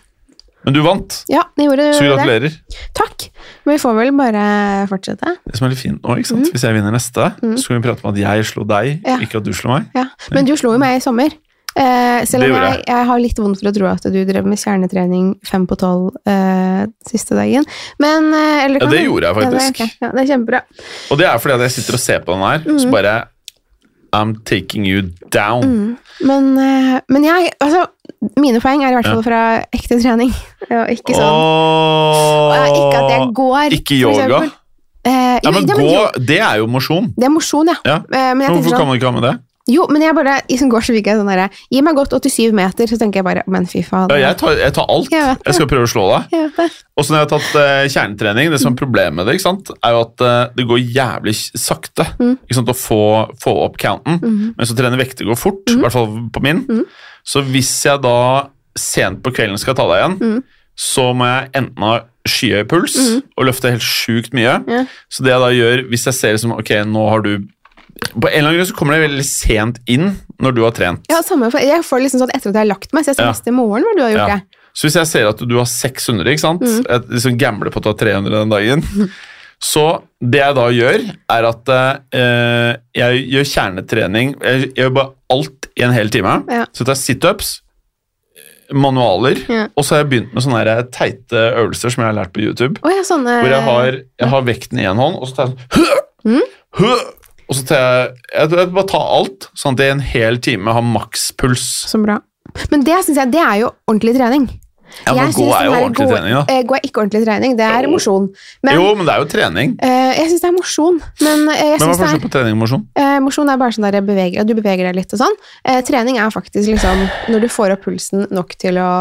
Men du vant, Ja, jeg gjorde så det. gratulerer. Takk. Men vi får vel bare fortsette. Det som er litt fint nå, ikke sant? Hvis jeg vinner neste, så kan vi prate om at jeg slo deg, Mm. Ja. ikke at du slo meg. Ja. Men du slo jo meg i sommer. Eh, selv Det om gjorde jeg, jeg har litt vondt for å tro at du drev med kjernetrening fem på tolv eh, siste dagen. Men eh, eller Ja, kan det du- gjorde jeg Ja, faktisk. det, er ok. ja, det er kjempebra. Og det er fordi at jeg sitter og ser på den her, Mhm. så bare I'm taking you down. Mm, Men, eh, men jeg Altså, mine poeng er i hvert fall fra ekte trening. Og ikke sånn Åh! Ja, Ikke at jeg går. Ikke for yoga? eksempel. Eh, jo, Ja, men ja, gå, jo, det er jo mosjon. Det er mosjon, ja. Ja. Eh, men jeg tenker Hvorfor sånn kan man ikke ha med det? Jo, men jeg bare i sånn gårdsvik er sånn derre Gi meg godt 87 meter, så tenker jeg bare Men fy faen. Ja, jeg, tar, jeg tar alt. Jeg vet det. Jeg skal prøve å slå deg. Jeg vet det. Og så når jeg har tatt eh, kjernetrening, det som er problemet med det, ikke sant, er jo at eh, det går jævlig s- sakte ikke sant, å få, få opp counten. Mens å trene vekter går fort, i hvert fall på min. Så hvis jeg da sent på kvelden skal ta deg igjen, så må jeg enten ha skyhøy puls og løfte helt sjukt mye. Ja. Så det jeg da gjør, hvis jeg ser liksom, ok, nå har du På en eller annen grunn så kommer det veldig sent inn når du har trent. Ja, samme for, jeg får liksom sånn etter at jeg har lagt meg, så jeg ser Ja. neste morgen hva du har gjort. Ja. jeg. Så hvis jeg ser at du har 600, ikke sant? Mm. Jeg liksom gambler på at du har 300 den dagen. Så det jeg da gjør, er at eh, jeg gjør kjernetrening. Jeg jeg gjør bare alt i en hel time. Ja. Så tar jeg situps, manualer, Ja. og så har jeg begynt med sånne her teite øvelser som jeg har lært på YouTube. Å ja, sånn, eh, sånne Hvor jeg har, jeg har vekten i én hånd, og så tar jeg sånn «Hø! Mm. Hø!» Og så tar jeg, jeg, jeg bare tar alt, sånn at jeg i en hel time har makspuls. Så bra. Men det synes jeg, det er jo ordentlig trening. Ja, men Jeg synes gå er jo sånn her ordentlig gå- trening, da. eh, Gå er ikke ordentlig trening, det er Jo. mosjon. Men jo, men det er jo trening. eh, jeg syns det er mosjon. Men eh, jeg Men hva synes det er er forskjellen på trening og mosjon? Eh, mosjon er bare sånn der jeg beveger, du beveger deg litt og sånn. Eh, trening er faktisk liksom når du får opp pulsen nok til å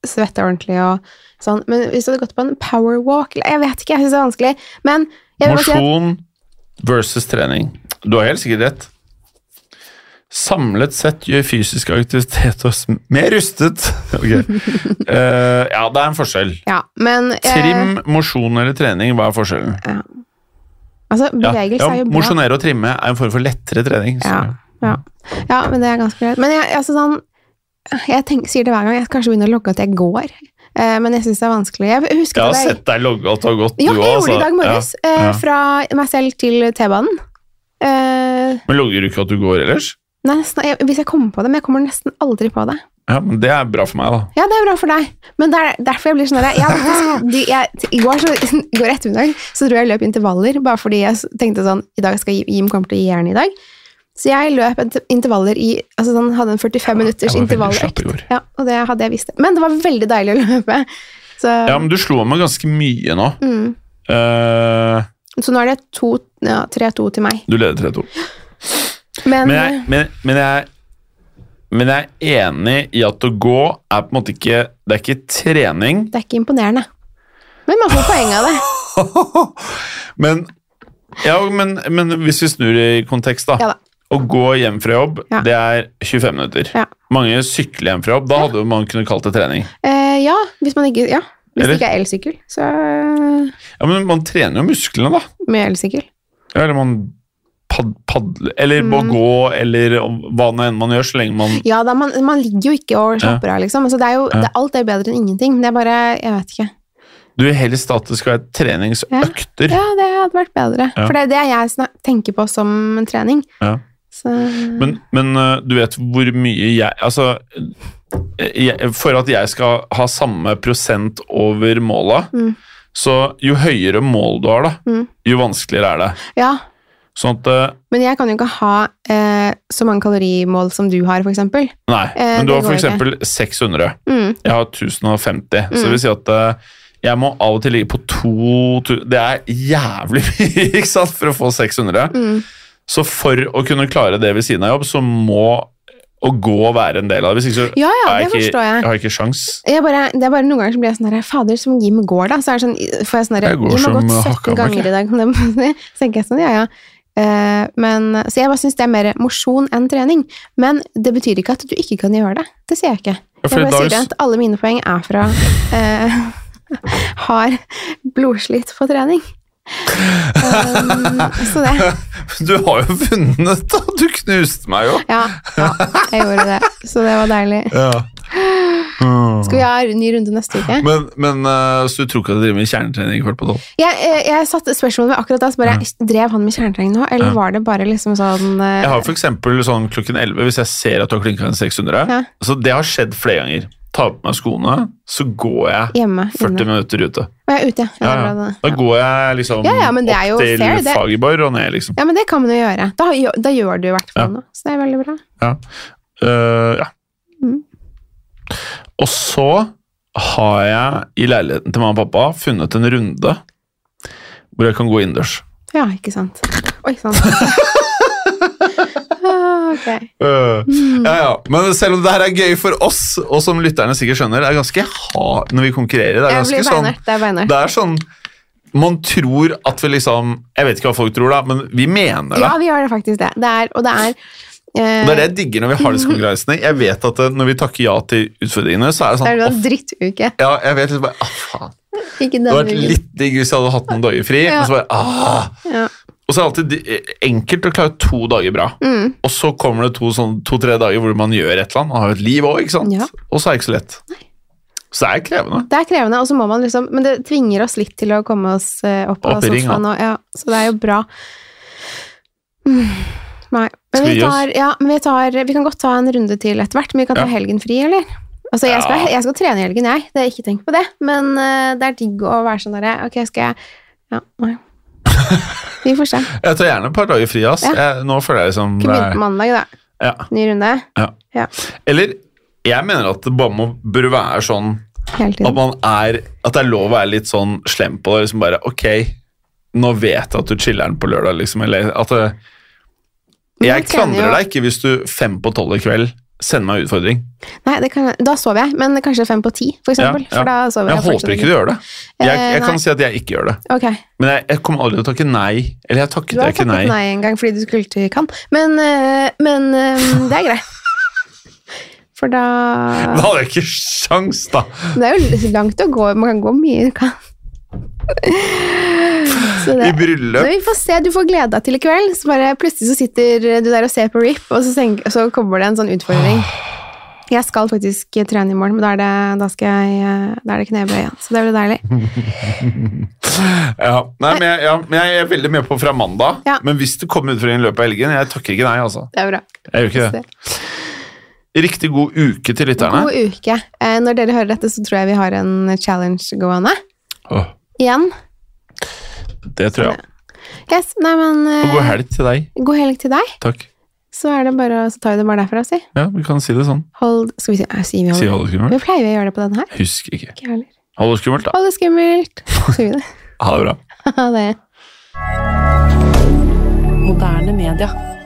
svette ordentlig og sånn. Men hvis du hadde gått på en power walk eller, Jeg vet ikke, jeg syns det er vanskelig. Men jeg vil bare si at Mosjon versus trening. Du har helt sikkert rett. Samlet sett gjør fysisk aktivitet oss mer rustet. Ok. Eh, ja, det er en forskjell. ja, men, eh, Trim, mosjon eller trening, hva er forskjellen? Altså, Ja, bevegelse ja, er jo bra. Mosjonere og trimme er en form for lettere trening. så- Ja, ja. ja, men det er ganske greit. Men jeg, altså sånn, jeg tenker, sier det hver gang, jeg skal kanskje begynne å logge at jeg går. Eh, men jeg syns det er vanskelig. Jeg husker Jeg har at jeg, sett deg logge at du har gått, ja, jeg du også, gjorde det i altså. dag morges. Ja, eh, ja. Fra meg selv til T-banen. Eh, Men logger du ikke at du går ellers? nei, nesten, jeg, hvis jeg kommer på det, men jeg kommer nesten aldri på det. Ja, men Det er bra for meg, da. Ja, det er bra for deg, men det er derfor jeg blir sånn der, jeg, har faktisk- de- jeg, I går, så, i går ettermiddag så tror jeg jeg løp intervaller, bare fordi jeg s- tenkte sånn I dag skal Jim- Jim kommer til å gi jern i dag. Så jeg løp int- intervaller i altså sånn, Hadde en 45 minutters Jeg var veldig intervalløkt. slapp i går. Ja, og det hadde jeg visst. Men det var veldig deilig å løpe. Så, Ja, men du slo meg ganske mye nå. mm. Eh, så nå er det to- ja, 3-2 til meg. du leder 3-2. Men, Men jeg, men, men jeg men jeg er enig i at å gå er på en måte ikke Det er ikke trening, det er ikke imponerende. Men man får poeng av det. men ja, men, men hvis vi snur i kontekst, da. Ja da. Å gå hjem fra jobb, Ja. det er 25 minutter. Ja. Mange sykler hjem fra jobb. Da hadde jo man kunnet kalt det trening. Eh, ja, hvis man ikke Ja. Hvis Eller- det ikke er elsykkel, så Ja, Men man trener jo musklene, da. med elsykkel. Ja, Eller man pad, padler Eller Mm. bare gå, eller hva nå enn man gjør, så lenge man Ja, da, man, man ligger jo ikke og slapper av, liksom. Altså, det er jo, Ja. det, alt er jo bedre enn ingenting. Det er bare Jeg vet ikke. Du vil helst at det skal være treningsøkter. Ja, det hadde vært bedre. Ja. For det er det jeg snak- tenker på som en trening. Ja. Så Men, men øh, du vet hvor mye jeg Altså, eh, jeg, for at jeg skal ha samme prosent over måla, Mm. så jo høyere mål du har, da, Mm. jo vanskeligere er det. Ja. Sånn at eh, Men jeg kan jo ikke ha eh, så mange kalorimål som du har, for eksempel. Nei, Eh, men du det har for går ikke. eksempel 600. Mm. Jeg har 1050. Så det vil si at eh, jeg må av og til ligge på 2000 Det er jævlig mye, ikke sant, for å få 600. Mm. Så for å kunne klare det ved siden av jobb, så må å gå være en del av det. Hvis ikke så Ja, ja, er det jeg ikke, forstår jeg. jeg har ikke sjans. Jeg bare, det er bare noen ganger så blir jeg sånn her Fader, som Jim går, da. Så er det sånn, får jeg sånn her Jeg Jim går har som gått hakka 17 ganger i dag. så tenker jeg sånn, ja, ja. Eh, men, så jeg bare syns det er mer mosjon enn trening. Men det betyr ikke at du ikke kan gjøre det. Det sier jeg ikke. Ja, Jeg for i bare dag sier s- at alle mine poeng er fra eh, Har blodslitt på trening. Um, så det Du har jo vunnet, da! Du knuste meg jo. ja, ja, jeg gjorde det. Så det var deilig. Skal vi ha en ny runde neste uke? Men, men eh, så du tror ikke at du driver med kjernetrening i kveld på tolv? Jeg, eh, jeg satte spørsmålet ved akkurat da, så bare drev han med kjernetrening nå, eller Ja. var det bare liksom sånn eh, Jeg har for eksempel sånn klokken 11, hvis jeg ser at du har klinka en 600 Ja. Så det har skjedd flere ganger. Tar på meg skoene, så går jeg hjemme? 40 inne? minutter ute. Å, jeg er ute, ja. Ja, det er ja. bra, Da det. går jeg liksom Ja, ja, men det er jo opp til fair, det- Fagerborg og ned, liksom. Ja, men det kan man jo gjøre. Da, gjør- da gjør du i hvert Ja. fall noe, så det er veldig bra. Ja. Eh, ja. Mm. Og så har jeg i leiligheten til mamma og pappa funnet en runde hvor jeg kan gå innendørs. Ja, ikke sant. Oi sann. Ah, ok. Øh, Mm. ja, ja. Men selv om det her er gøy for oss, og som lytterne sikkert skjønner, det er ganske hard når vi konkurrerer. Det er Jeg ganske blir sånn, beinhardt. Det er beinhardt. det er sånn Man tror at vi liksom Jeg vet ikke hva folk tror, da, men vi mener det. Ja, vi gjør det faktisk det. det er, og det er eh, mm. Og Det er det jeg digger når vi har disse konkurransene. Jeg vet at eh, Når vi takker ja til utfordringene, så er det det er sånn jo «Å, en drittuke. f- ja, jeg vet liksom bare, ah, faen. Ikke Det denne hadde vært uken. litt digg hvis jeg hadde hatt noen dager fri. Ja. Og så bare, ah. Ja. Og så er det alltid di- enkelt å klare to dager bra. Mm. Og så kommer det to-tre sånn, to, tre dager hvor man gjør et eller annet. Man har jo et liv òg, ikke sant? Ja. Og så er det ikke så lett. Så det er krevende. Det er krevende, og så må man liksom Men det tvinger oss litt til å komme oss eh, opp av Opp i ring, sofaen. Og, ja, så det er jo bra. Mm, Nei. Skal Men vi vi, gi oss? tar, ja, men vi, tar, vi kan godt ta en runde til etter hvert, men vi kan ta Ja. helgen fri, eller? Altså, jeg skal, Ja. jeg skal trene i helgen, jeg. Det er ikke tenkt på det. Men eh, det er digg å være sånn derre Ok, skal jeg Ja, nei. Vi får se. Jeg tar gjerne et par dager fri. ass. Ja. Jeg, nå føler jeg liksom Kunne det begynt på er, mandag, da. ja, Ny runde. ja. Ja. Eller jeg mener at det bare må, bør være sånn Hele at, tiden. man er, at det er lov å være litt sånn slem på det. Liksom bare Ok, nå vet jeg at du chiller'n på lørdag, liksom. Eller at det, Men Jeg jeg trener klandrer jo- deg ikke hvis du fem på tolv i kveld sender meg en utfordring. Nei, det kan, da sover jeg, men kanskje fem på ti, for eksempel. Ja, ja. For da sover jeg Jeg, håper fortsatt ikke du gjør det. Eh, Jeg, jeg nei. kan si at jeg ikke gjør det. Ok. Men jeg, jeg kommer aldri til å takke nei. Eller jeg takket Du har jeg ikke takket nei. nei. en gang fordi du skulle til Cannes, men, øh, men øh, det er greit. For da Da hadde jeg ikke sjans, da! Det er jo langt å gå. Man kan gå mye du kan. Så I det så bryllup. vi får se, Du får glede deg til i kveld. Så bare Plutselig så sitter du der og ser på RIP, og så, tenk, så kommer det en sånn utfordring. Jeg skal faktisk trene i morgen, men da er det, da skal jeg, øh, da er det knebøy igjen. Så det blir deilig. Mhm. Ja. Nei, men jeg, ja, men jeg er veldig med på fra mandag. Ja. Men hvis det kommer utfordring i løpet av helgen, jeg takker ikke nei, altså. Det er bra. Jeg gjør ikke det. Riktig god uke til lytterne. God uke. Eh, Når dere hører dette, så tror jeg vi har en challenge gående. Åh, Igjen. det tror jeg. Yes, nei, men eh, Og god helg til deg. god helg til deg. Takk. Så, er det bare, så tar vi det bare derfra, si. Ja, vi kan si det sånn. Hold Skal vi si, eh, sier vi Si hold? ha det skummelt. Vi pleier å gjøre det på denne her. Husk ikke. Ikke jeg heller. Ha det skummelt, da. Hold det skummelt! Sier vi det? Ha det bra. Ha det. Moderne media.